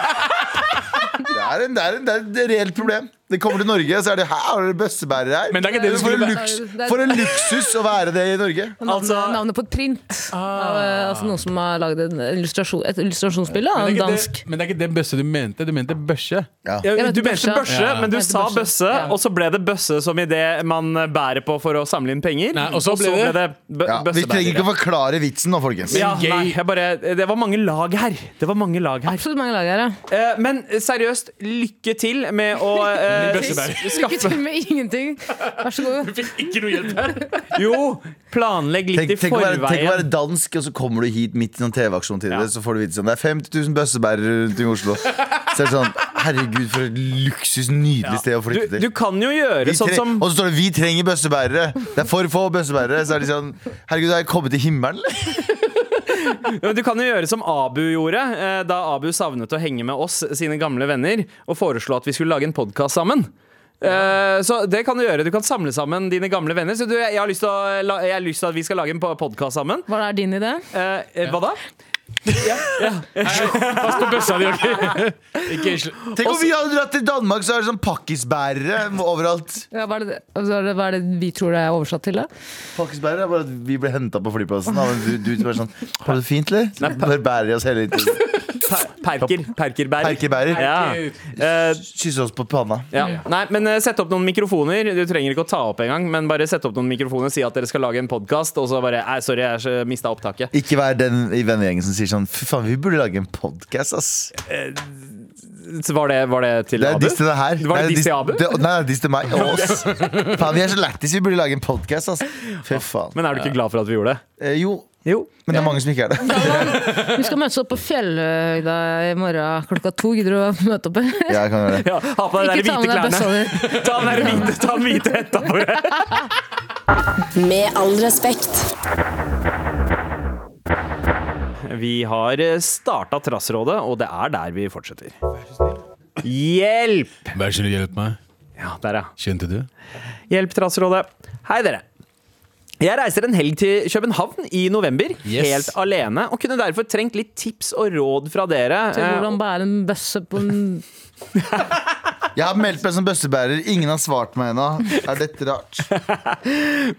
Speaker 4: det, er en, det, er en, det er et reelt problem Det kommer til Norge Så er det her Har dere bøssebærer her
Speaker 3: Men det er ikke det du
Speaker 4: for, en
Speaker 3: skulle
Speaker 4: luks, for en luksus å være det i Norge.
Speaker 5: Navnet,
Speaker 2: Altså-
Speaker 5: navnet på et print. Av, eh, altså noen som har lagd en illustrasjon, et illustrasjonsbilde av
Speaker 3: Men
Speaker 5: en
Speaker 3: det er ikke
Speaker 5: dansk.
Speaker 3: det- Men det er ikke det bøsse du mente. Du mente børse.
Speaker 2: Ja,
Speaker 5: Jeg mente
Speaker 2: du mente
Speaker 5: børse.
Speaker 2: børse,
Speaker 3: Ja, ja.
Speaker 2: men du
Speaker 5: Jeg mente
Speaker 2: sa
Speaker 5: børse.
Speaker 2: bøsse,
Speaker 5: Ja.
Speaker 2: og så ble det bøsse som i det man bærer på for å samle inn penger.
Speaker 3: Nei, og så ble det-
Speaker 2: bø
Speaker 4: Ja, vi
Speaker 2: bøssebærer.
Speaker 4: trenger trenger ikke å forklare vitsen nå, folkens.
Speaker 2: Ja, nei, jeg bare, det var mange lag her. Det var mange lag her.
Speaker 5: Absolutt mange lag her, ja.
Speaker 2: Eh, men seriøst, lykke til med å eh,
Speaker 5: Lykke til
Speaker 2: skaffe
Speaker 5: med ingenting. Vær så god.
Speaker 3: Ikke noe hjelp her.
Speaker 2: Jo, planlegg litt
Speaker 4: Tenk,
Speaker 2: i
Speaker 4: tenk, å være, tenk å
Speaker 2: forveien.
Speaker 4: være dansk, og så kommer du hit midt i en TV-aksjon til det,
Speaker 2: Ja.
Speaker 4: så får du vite sånn Det er 50 000 bøssebærere rundt i Oslo. Så er det sånn Herregud, for et luksus, nydelig sted å
Speaker 2: Du,
Speaker 4: flytte
Speaker 2: du
Speaker 4: til.
Speaker 2: kan jo
Speaker 4: Vi
Speaker 2: gjøre sånn
Speaker 4: tre-
Speaker 2: som
Speaker 4: Og så står det 'Vi trenger bøssebærere'. Det er for få bøssebærere. Så er de sånn Herregud, har jeg kommet til himmelen? eller?»
Speaker 2: Ja, men Du kan jo gjøre som Abu gjorde, eh, da Abu savnet å henge med oss, sine gamle venner, og foreslo at vi skulle lage en podkast sammen. Eh, Så det kan du gjøre. Du kan samle sammen dine gamle venner. Så du, jeg, har lyst til å, la- jeg har lyst til at vi skal lage en podkast sammen.
Speaker 5: Hva er din idé?
Speaker 2: Eh, eh, Hva da?
Speaker 3: Pass på bøssa di, OK? Ikke sl-
Speaker 4: Tenk om vi hadde dratt til Danmark, så er det sånn pakkisbærere overalt.
Speaker 5: Ja, hva, er det, hva er det- hva er det vi tror det er oversatt til, da?
Speaker 4: Pakkisbærere er bare at vi ble henta på flyplassen av en du- dude som er sånn Har du det fint, eller? Bare bærer i oss hele tiden.
Speaker 2: Per- Perker. Perkerbær.
Speaker 4: Perkebærer.
Speaker 2: Ja.
Speaker 3: Ah.
Speaker 2: Eh,
Speaker 4: Kysser oss på panna.
Speaker 2: ja. Nei, men eh, sett opp noen mikrofoner. Du trenger ikke å ta opp engang, men bare sett opp noen mikrofoner, si at dere skal lage en podkast, og så bare Nei, sorry, jeg mista opptaket.
Speaker 4: Ikke vær den i vennegjengen som sier sånn Fy faen, vi burde lage en podkast, ass.
Speaker 2: Var det, var det til
Speaker 4: Det er
Speaker 2: Abu?
Speaker 4: diss til det her.
Speaker 2: Var det diss til Abu?
Speaker 4: Det, nei, det er diss til meg og oss. Faen, vi er så lættis, vi burde lage en podkast, ass. Fy faen.
Speaker 2: Men er du ikke glad for at vi gjorde det?
Speaker 4: eh, jo,
Speaker 2: Jo.
Speaker 4: men det er mange som ikke er det.
Speaker 5: Vi skal møtes opp på Fjellhøgda i morgen klokka to. Gidder du å møte opp?
Speaker 4: Jeg kan gjøre det.
Speaker 2: Ja, ha på deg de
Speaker 5: Ikke ta
Speaker 2: hvite
Speaker 5: med deg
Speaker 2: klærne.
Speaker 5: bøssa di.
Speaker 2: Ta den der hvite, ta den hvite hetta på deg.
Speaker 1: Med all respekt.
Speaker 2: Vi har starta Trassrådet, og det er der vi fortsetter. Hjelp!
Speaker 7: Vær så snill, hjelp meg.
Speaker 2: Ja, der, ja.
Speaker 7: Skjønte du?
Speaker 2: Hjelp, Trassrådet. Hei, dere. Jeg reiser en helg til København i november,
Speaker 7: Yes.
Speaker 2: helt alene, og kunne derfor trengt litt tips og råd fra dere.
Speaker 5: Til
Speaker 2: Eh,
Speaker 5: hvordan bære en bøsse på en
Speaker 4: Jeg har meldt meg som bøssebærer. Ingen har svart meg ennå. Er dette rart?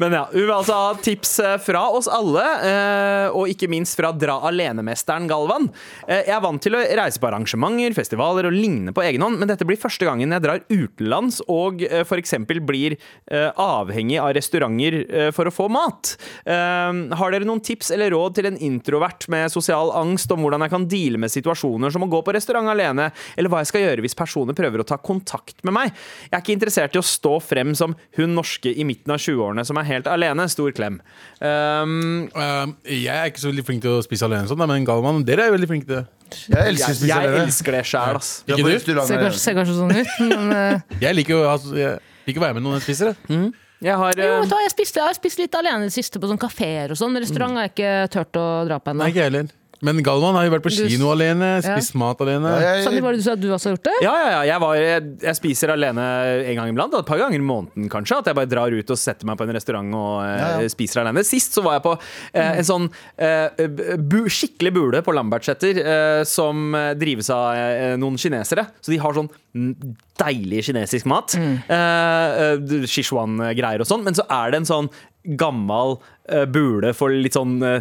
Speaker 2: Men ja, hun vil altså ha tips eh, fra oss alle, eh, og ikke minst fra Dra Alene-mesteren Galvan. Eh, Jeg er vant til å reise på arrangementer, festivaler og lignende på egen hånd, men dette blir første gangen jeg drar utenlands og f.eks. blir eh, avhengig av restauranter eh, for å få mat. Eh, Har dere noen tips eller råd til en introvert med sosial angst om hvordan jeg kan deale med situasjoner som å gå på restaurant alene, eller hva jeg skal gjøre hvis personer prøver å ta kontakt med meg? Jeg er ikke interessert i å stå frem som hun norske i midten av 20-årene som er helt alene. Stor klem. Um,
Speaker 3: Um, jeg er ikke så veldig flink til å spise alene, og sånn, da, men Galvan, dere er veldig flinke til det.
Speaker 4: Jeg elsker å
Speaker 2: jeg,
Speaker 4: spise
Speaker 2: jeg
Speaker 4: alene.
Speaker 2: elsker det sjæl, ass.
Speaker 4: Dra på
Speaker 3: Ikke du?
Speaker 4: restaurant
Speaker 5: Ser
Speaker 4: alene.
Speaker 5: kanskje, ser kanskje sånn ut, men eh,
Speaker 3: Jeg liker å ha- jeg liker å være med noen jeg spiser. jeg.
Speaker 2: Jeg har
Speaker 5: Jo,
Speaker 2: eh,
Speaker 5: vet du hva, jeg, spiste, jeg har spist litt alene i det siste på sånn kafeer og sånn. Restaurant har jeg ikke turt å dra på
Speaker 3: Nei,
Speaker 5: ennå.
Speaker 3: ikke jeg heller. Men Galvan har jo vært på
Speaker 5: Du-
Speaker 3: kino alene,
Speaker 5: Ja.
Speaker 3: spist mat alene.
Speaker 5: Sandeep,
Speaker 4: Jeg,
Speaker 5: var det du sa at du også har gjort det?
Speaker 2: ja, ja, ja. Jeg, var, jeg, jeg spiser alene en gang iblant. da, Et par ganger i måneden, kanskje. At jeg bare drar ut og setter meg på en restaurant og eh,
Speaker 4: Ja, ja.
Speaker 2: spiser alene. Sist så var jeg på eh, en sånn eh, bu, skikkelig bule på Lambertseter eh, som eh, drives av eh, noen kinesere. Så de har sånn mm, deilig kinesisk mat.
Speaker 4: Mm.
Speaker 2: Eh, eh, Sichuan-greier og sånn. Men så er det en sånn Gammal eh, bule for litt sånn eh,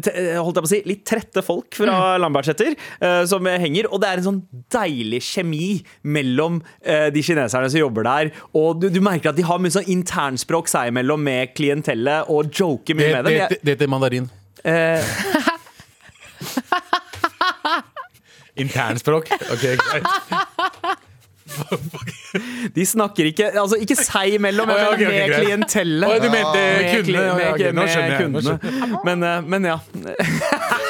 Speaker 2: te, eh, Holdt jeg på å si litt trette folk fra
Speaker 3: Mm.
Speaker 2: Lambertseter eh, som henger. Og det er en sånn deilig kjemi mellom eh, de kineserne som jobber der. Og du, du merker at de har mye sånn internspråk seg imellom med klientellet og joker mye
Speaker 3: Det,
Speaker 2: med dem.
Speaker 3: det,
Speaker 2: Jeg,
Speaker 3: det, det heter mandarin.
Speaker 2: Eh.
Speaker 3: Internspråk. Ok, greit.
Speaker 2: De snakker ikke altså ikke seg imellom,
Speaker 3: Å, ja, ok,
Speaker 2: men
Speaker 3: ok,
Speaker 2: med
Speaker 3: greit.
Speaker 2: klientellet.
Speaker 3: Å, du mente
Speaker 2: Med
Speaker 3: kundene,
Speaker 2: kli-
Speaker 3: ja,
Speaker 2: Med,
Speaker 3: ok, nå skjønner
Speaker 2: med
Speaker 3: jeg, nå
Speaker 2: kundene. Men, eh, men ja.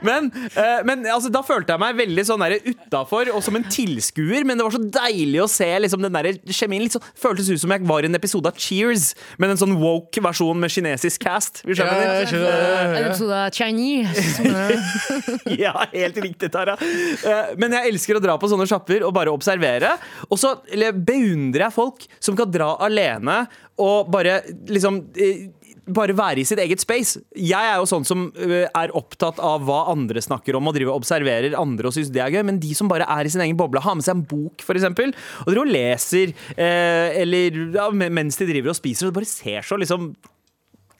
Speaker 2: Men, eh, men altså, da følte jeg meg veldig sånn utafor og som en tilskuer. Men det var så deilig å se liksom, den der kjemien. Litt sånn, føltes ut som jeg var i en episode av Cheers, men en sånn woke versjon med kinesisk cast. Hvis du skjønner?
Speaker 3: Ja, jeg skjønner.
Speaker 5: En episode av Chinese.
Speaker 2: Ja, helt riktig, Tara. Eh, Men jeg elsker å dra på sånne sjapper og bare observere. Og så eller, beundrer jeg folk som kan dra alene og bare liksom eh, bare være i sitt eget space. Jeg er jo sånn som eh, er opptatt av hva andre snakker om, og driver og observerer andre og syns det er gøy, men de som bare er i sin egen boble, har med seg en bok, f.eks., og driver og leser, eh, eller ja, men- mens de driver og spiser, og det bare ser så liksom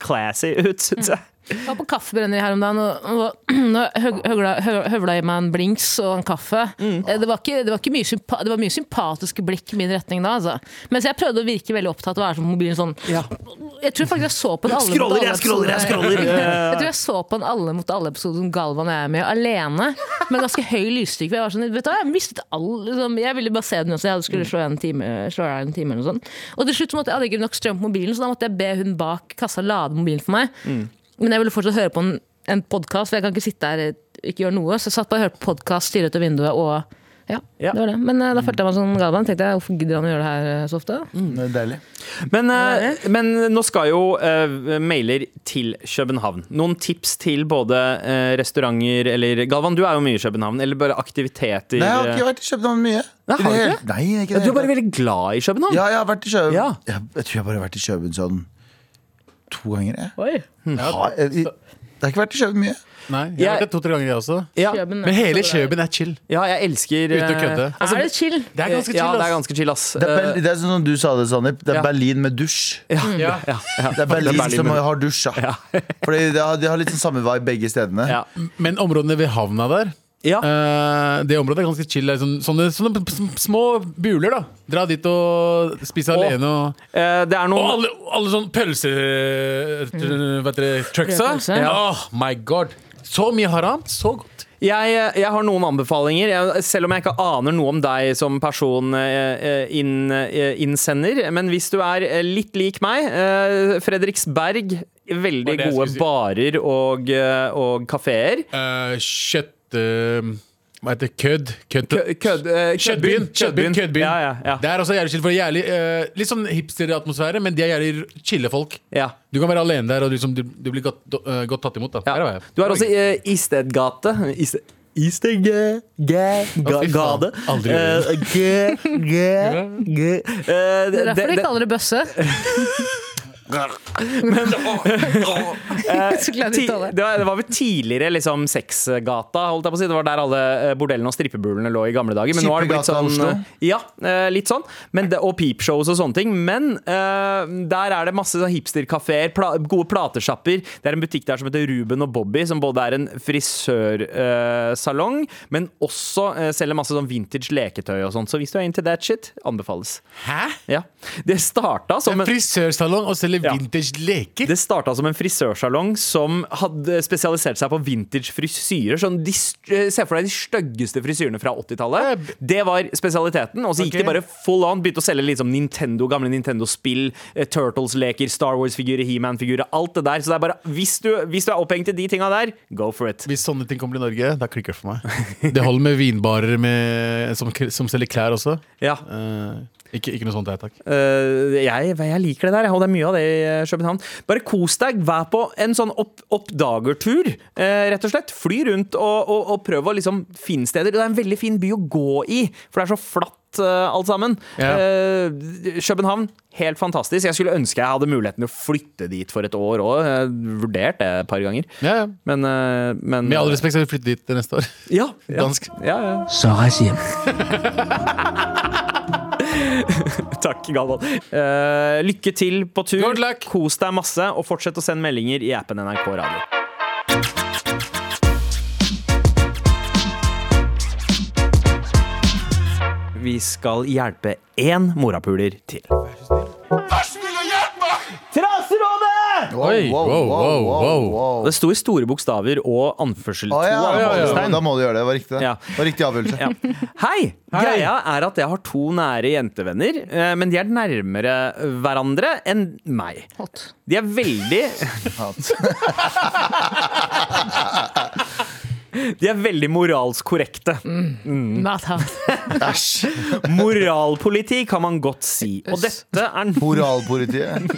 Speaker 2: classy ut, syns jeg.
Speaker 5: Jeg var på kaffebrenneri her om dagen, og, og da høg- høgla, hø- høvla i meg en blinks og en kaffe.
Speaker 2: Mm.
Speaker 5: Eh, Det, var ikke, det, var ikke mye sympa, det var mye sympatiske blikk i min retning da. Altså. Mens jeg prøvde å virke veldig opptatt og være som mobilen sånn Jeg tror faktisk jeg så på en alle
Speaker 2: Scroller,
Speaker 5: mot alle
Speaker 2: jeg scroller, jeg
Speaker 5: episode.
Speaker 2: scroller.
Speaker 5: Jeg tror jeg så på en alle mot alle episode som Galvan og jeg er med, alene. Med ganske høy lysstyrke. Jeg var sånn, vet du hva, jeg mistet all liksom, Jeg ville bare se den også. Jeg
Speaker 2: Mm.
Speaker 5: hadde- skulle slå i en time, slå i en time eller noe sånt. Og til slutt så måtte jeg hadde ikke nok strøm på mobilen, så da måtte jeg be hun bak kassa lade mobilen for meg.
Speaker 2: Mm.
Speaker 5: Men jeg ville fortsatt høre på en, en podkast, for jeg kan ikke sitte her og ikke gjøre noe. Så jeg satt bare og hørte på podkast, stirret ut av vinduet og ja,
Speaker 2: Ja. Mm.
Speaker 5: det var det. Men eh, da følte jeg meg som Galvan. Tenkte jeg, hvorfor gidder han å gjøre det her eh, så ofte?
Speaker 4: Det er Deilig.
Speaker 2: Men, eh, men nå skal jo eh, mailer til København. Noen tips til både eh, restauranter eller Galvan, du er jo mye i København. Eller bare aktiviteter.
Speaker 4: Nei, jeg har ikke vært i København mye.
Speaker 2: eh, Nei, har du
Speaker 4: I det hele-
Speaker 2: ikke?
Speaker 4: Nei, ikke i
Speaker 2: Ja, du
Speaker 4: det
Speaker 2: er
Speaker 4: hele
Speaker 2: bare veldig glad i København.
Speaker 4: Ja, jeg har vært i København.
Speaker 2: Ja.
Speaker 4: Jeg, jeg tror jeg bare har vært i København sånn to ganger. Jeg.
Speaker 5: Oi.
Speaker 4: Har, jeg, jeg, jeg har ikke vært i København mye.
Speaker 3: Nei, jeg har
Speaker 2: Jeg-
Speaker 3: vært det to-tre ganger, jeg også.
Speaker 2: Ja,
Speaker 5: Kjøben er
Speaker 3: Men hele
Speaker 5: så bra.
Speaker 3: Kjøben er chill.
Speaker 2: ja, jeg elsker
Speaker 3: Uten å
Speaker 2: eh,
Speaker 3: kødde.
Speaker 2: altså,
Speaker 5: er det chill?
Speaker 3: Det er ganske chill,
Speaker 2: Ja, det er
Speaker 3: ass.
Speaker 2: ganske chill, ass.
Speaker 4: Det er, Berl-
Speaker 2: Eh,
Speaker 4: det er sånn som du sa det, Sandeep. Det er
Speaker 2: ja.
Speaker 4: Berlin med dusj.
Speaker 2: ja,
Speaker 3: Mm.
Speaker 2: ja, ja,
Speaker 4: Det er Berlin,
Speaker 2: Berlin
Speaker 4: som
Speaker 2: med-
Speaker 4: har dusja. Fordi det har, de har litt sånn samme vibe begge stedene.
Speaker 2: ja.
Speaker 3: Men områdene ved havna der
Speaker 2: Ja.
Speaker 3: eh, Det området er ganske chill. det er Sånn, sånne, sånne p- små buler, da. Dra dit og spise
Speaker 2: Å.
Speaker 3: alene og
Speaker 2: Eh, det er
Speaker 3: Og
Speaker 2: noen
Speaker 3: alle, alle sånne pølse...
Speaker 2: Mm.
Speaker 3: Hva heter det? Trucksa?
Speaker 5: Rødpølse.
Speaker 3: Åh, my god. Så mye haram, så godt.
Speaker 2: Jeg, eh, jeg har noen anbefalinger. Jeg, selv om jeg ikke aner noe om deg som person eh, eh, inn, eh, innsender. Men hvis du er eh, litt lik meg, eh, Fredriksberg Veldig
Speaker 3: Var det jeg
Speaker 2: gode
Speaker 3: skulle si.
Speaker 2: barer og, eh, og kafeer.
Speaker 3: Eh, kjøtt... eh, hva heter det? Kødd? Kødd-
Speaker 2: Kø- kødd- eh,
Speaker 3: Køddbyen. Køddbyen. køddbyen.
Speaker 2: Ja, ja, ja.
Speaker 3: Det er også jævlig chill. For det er jævlig, eh, litt sånn hipsteratmosfære, men de er jævlig chille folk.
Speaker 2: ja.
Speaker 3: Du kan være alene der, og du, liksom, du, du blir godt, do- eh, godt tatt imot. Da.
Speaker 2: ja.
Speaker 3: Der var jeg.
Speaker 2: Du har også eh, Istedgate. Iste- Istegge... Ge... Ga,
Speaker 3: Å, fy faen.
Speaker 2: gade.
Speaker 3: Aldri hørt
Speaker 2: Eh, ge... Ge... Ge... Eh,
Speaker 5: Det er
Speaker 2: det-
Speaker 5: derfor de
Speaker 2: det-
Speaker 5: kaller det bøsse. Så glad de
Speaker 2: Ti-
Speaker 5: taler.
Speaker 2: det, var, det var vel tidligere liksom, sexgata, holdt jeg på å si. Det var der alle eh, bordellene og strippebulene lå i gamle dager. Men nå har det blitt
Speaker 4: Strippegata i
Speaker 2: sånn
Speaker 4: Oslo?
Speaker 2: eh, Ja, eh, litt sånn. Men det, og peepshows og sånne ting. Men eh, der er det masse sånn hipsterkafeer, pla, gode platesjapper. Det er en butikk der som heter Ruben og Bobby, som både er en frisørsalong, men også eh, selger masse sånn vintage leketøy og sånt. Så hvis du er into that shit, anbefales.
Speaker 3: Hæ?
Speaker 2: Ja. Det starta som
Speaker 3: En frisørsalong og selger
Speaker 2: Ja.
Speaker 3: vintage leker?
Speaker 2: det starta som en frisørsalong som hadde spesialisert seg på vintage frisyrer. Sånn de, st- se for deg de styggeste frisyrene fra 80-tallet. Det var spesialiteten. Og så gikk
Speaker 3: Ok.
Speaker 2: de bare full on. Begynte å selge liksom Nintendo, gamle Nintendo-spill, eh, Turtles-leker, Star Wars-figurer, He-Man-figurer. Alt det der. Så det er bare, hvis du, hvis du er opphengt i de tinga der, go for it.
Speaker 3: Hvis sånne ting kommer til Norge, da klikker det for meg. Det holder med vinbarer med, som, som selger klær også.
Speaker 2: Ja.
Speaker 3: Eh, ikke, ikke noe sånt her, takk.
Speaker 2: Eh, jeg, jeg liker det der, og det er mye av det i eh, København. Bare kos deg, vær på en sånn opp, oppdagertur, eh, rett og slett. Fly rundt og, og, og prøv å liksom finne steder. Det er en veldig fin by å gå i, for det er så flatt eh, alt sammen.
Speaker 3: Ja.
Speaker 2: Eh, København, helt fantastisk. Jeg skulle ønske jeg hadde muligheten til å flytte dit for et år òg. Vurdert det et par ganger.
Speaker 3: Ja, ja.
Speaker 2: Men, eh, men
Speaker 3: Med all respekt, så vil vi flytte dit neste år.
Speaker 2: ja, ja,
Speaker 3: Dansk.
Speaker 2: ja, ja.
Speaker 8: Så reis hjem.
Speaker 2: Takk, Galvan. Eh, lykke til på tur.
Speaker 3: Good luck.
Speaker 2: Kos deg masse, og fortsett å sende meldinger i appen NRK Radio. Vi skal hjelpe én morapuler til. Traserådet!
Speaker 3: Oi, wow, wow, wow.
Speaker 2: Det sto i store bokstaver og anførsel.
Speaker 4: Å,
Speaker 2: to
Speaker 4: ja,
Speaker 2: anførselstegn.
Speaker 4: Da må du gjøre det. Det var riktig, det.
Speaker 2: Ja.
Speaker 4: Det var riktig avgjørelse.
Speaker 2: Ja. Hei! Greia er at jeg har to nære jentevenner, eh, men de er nærmere hverandre enn meg.
Speaker 5: Hot.
Speaker 2: De er veldig De er veldig moralsk korrekte.
Speaker 5: Not hot.
Speaker 2: Moralpoliti kan man godt si. Og dette er
Speaker 4: Moralpolitiet.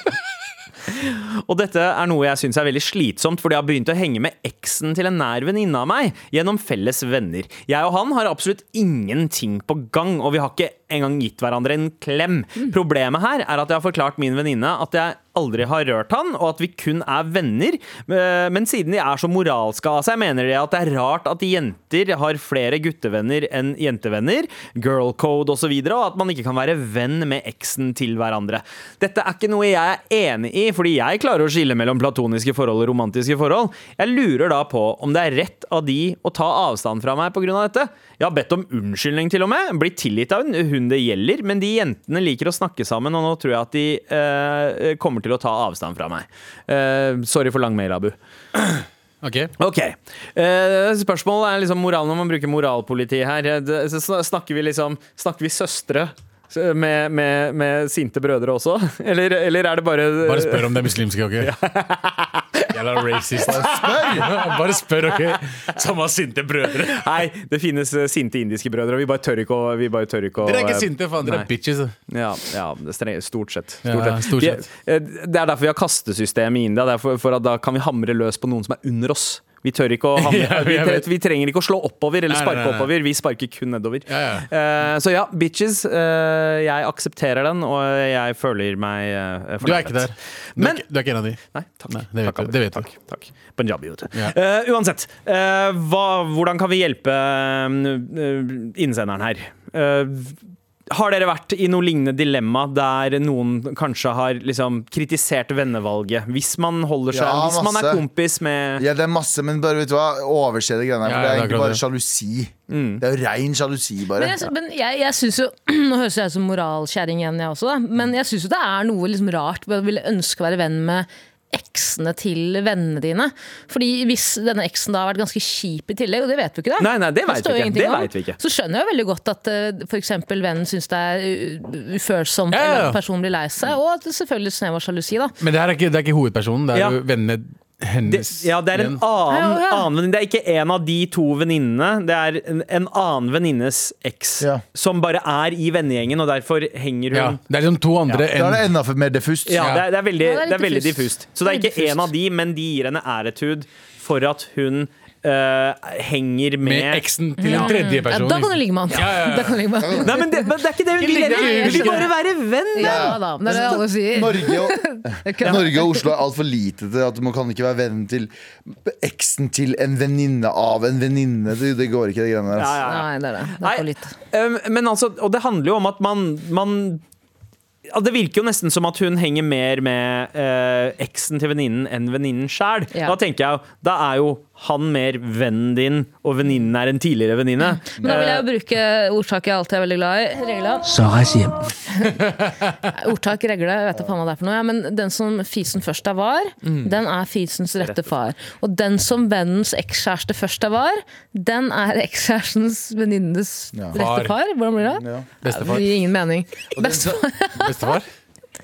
Speaker 2: Og dette er noe jeg syns er veldig slitsomt, fordi jeg har begynt å henge med eksen til en nær venninne av meg gjennom felles venner. Jeg og han har absolutt ingenting på gang, og vi har ikke engang gitt hverandre en klem. Problemet her er at jeg har forklart min venninne at jeg aldri har rørt han, og at vi kun er venner. Eh, Men siden de er så moralske av seg, mener de at det er rart at jenter har flere guttevenner enn jentevenner, girl code osv., og, så videre, og at man ikke kan være venn med eksen til hverandre. Dette er ikke noe jeg er enig i, fordi jeg klarer å skille mellom platoniske forhold og romantiske forhold. Jeg lurer da på om det er rett av de å ta avstand fra meg pga. dette. Jeg har bedt om unnskyldning til og med, blitt tilgitt av hun- hun det gjelder, men de jentene liker å snakke sammen, og nå tror jeg at de eh, kommer til å ta avstand fra meg. Eh, sorry for lang mail, Abu.
Speaker 3: Ok.
Speaker 2: Ok. Eh, spørsmålet er liksom moral når man bruker moralpoliti her. Eh, det- så sn- Snakker vi liksom Snakker vi søstre s- med, med, med sinte brødre også? Eller, eller er det bare
Speaker 3: Bare spør om det er muslimske, ok? Jævla racist. Bare spør, Bare spør ok? Samme sinte brødre.
Speaker 2: Nei, det finnes eh, sinte indiske brødre, og vi bare tør ikke å, vi bare tør ikke å
Speaker 3: Dere er
Speaker 2: eh,
Speaker 3: ikke sinte, faen. Dere
Speaker 2: nei.
Speaker 3: er bitches. altså.
Speaker 2: Ja, ja det er streng- stort sett. Stort
Speaker 3: Ja,
Speaker 2: sett.
Speaker 3: stort sett.
Speaker 2: Vi, eh, det er derfor vi har kastesystemet i India. Det er for, for at da kan vi hamre løs på noen som er under oss. Vi, tør ikke å hamre,
Speaker 3: Ja, jeg
Speaker 2: vi, tre-
Speaker 3: vet.
Speaker 2: vi trenger ikke å slå oppover eller
Speaker 3: Nei, nei,
Speaker 2: sparke
Speaker 3: nei, nei.
Speaker 2: oppover. Vi sparker kun nedover.
Speaker 3: Ja,
Speaker 2: Eh, så ja, bitches. eh, jeg aksepterer den, og jeg føler meg uh,
Speaker 3: Du er ikke der. Du er
Speaker 2: Men
Speaker 3: ikke, du er ikke en av de.
Speaker 2: Nei, takk.
Speaker 3: Nei, det vet
Speaker 2: takk,
Speaker 3: du, det vet du.
Speaker 2: takk, takk. Punjabi, vet du.
Speaker 3: Ja.
Speaker 2: Eh, uansett, eh, hva, hvordan kan vi hjelpe eh, innsenderen her? Eh, har dere vært i noe lignende dilemma der noen kanskje har liksom, kritisert vennevalget? Hvis man holder seg
Speaker 4: Ja,
Speaker 2: Hvis man er
Speaker 4: masse.
Speaker 2: kompis med
Speaker 4: Ja, det er masse, men bare vet du hva overse det greiene her.
Speaker 3: Ja,
Speaker 4: For det
Speaker 3: det
Speaker 4: er
Speaker 3: er
Speaker 4: egentlig
Speaker 3: akkurat
Speaker 4: bare
Speaker 3: det.
Speaker 4: sjalusi.
Speaker 2: Mm.
Speaker 4: Det er jo rein sjalusi, bare.
Speaker 5: Men altså- jeg, men jeg, jeg synes jo Nå høres jeg ut som moralkjerring igjen, jeg også, da. men jeg syns jo det er noe liksom rart med å ville ønske å være venn med eksene til vennene dine. Fordi hvis denne eksen da har vært ganske kjip i tillegg, og det vet vi ikke, da.
Speaker 2: Nei, nei, det vet
Speaker 5: står
Speaker 2: vi
Speaker 5: jo
Speaker 2: ikke.
Speaker 5: ingenting
Speaker 2: Det
Speaker 5: om,
Speaker 2: vet vi ikke.
Speaker 5: Så skjønner jeg jo veldig godt at eh, f.eks. vennen syns det er u- ufølsomt,
Speaker 3: Ja, ja,
Speaker 5: eller
Speaker 3: ja.
Speaker 5: at personen blir lei seg, og at det selvfølgelig snev av sjalusi, da.
Speaker 3: Men det her er ikke, det er ikke hovedpersonen. Det er
Speaker 2: Ja.
Speaker 3: jo vennene
Speaker 2: det,
Speaker 3: hennes.
Speaker 2: ja, det er en
Speaker 3: igjen.
Speaker 2: annen,
Speaker 5: Ja, ja.
Speaker 2: annen venninne. Det er ikke en av de to venninnene. Det er en, en annen venninnes eks
Speaker 4: Ja.
Speaker 2: som bare er i vennegjengen, og derfor henger hun
Speaker 3: ja, Det er liksom to andre
Speaker 4: Da er det
Speaker 3: enn
Speaker 4: enda for- mer diffust.
Speaker 2: Ja,
Speaker 3: Ja.
Speaker 2: det er, det er veldig,
Speaker 5: Ja, det
Speaker 2: det
Speaker 5: er
Speaker 2: er
Speaker 5: litt
Speaker 2: veldig
Speaker 5: diffust.
Speaker 2: diffust. Så det er
Speaker 5: Det er
Speaker 2: ikke
Speaker 5: diffust.
Speaker 2: en av de, men de gir henne æretud for at hun eh, henger med,
Speaker 3: med eksen til en tredje
Speaker 5: Ja,
Speaker 3: person. liksom.
Speaker 5: da kan du ligge med han.
Speaker 3: Ja, ja, ja.
Speaker 5: Da kan du ligge med han.
Speaker 2: Nei, men det, men det er ikke det hun vil!
Speaker 3: ligge-
Speaker 2: heller. Hun
Speaker 3: ikke
Speaker 2: vil
Speaker 3: ligge-
Speaker 2: bare være venn!
Speaker 5: Ja, da, men det er det alle sier.
Speaker 4: Norge og, Norge og Oslo er altfor lite til at man kan ikke være vennen til eksen til en venninne av en venninne. Det, det går ikke, de greiene der.
Speaker 2: Ja,
Speaker 4: ass.
Speaker 2: ja, ja.
Speaker 5: Nei, det er det. Det
Speaker 2: Nei,
Speaker 5: er for litt.
Speaker 2: um, men altså, og det handler jo om at man, man ja, Det virker jo nesten som at hun henger mer med eh, eksen til venninnen enn venninnen sjæl.
Speaker 5: Ja.
Speaker 2: Da tenker jeg jo, da er jo han mer vennen din, og venninnen er en tidligere venninne.
Speaker 5: Men da vil jeg jo bruke ordtaket jeg alltid er veldig glad i. Regla. Ordtak, regler, jeg vet da faen hva det er for noe. Ja, men den som fisen først er var, den er fisens rette far. Og den som vennens ekskjæreste først er var, den er ekskjærestens venninnes
Speaker 3: Far.
Speaker 5: rette far. Hvordan blir det?
Speaker 3: Bestefar.
Speaker 5: Det gir ingen mening.
Speaker 4: Og den som-
Speaker 3: Bestefar?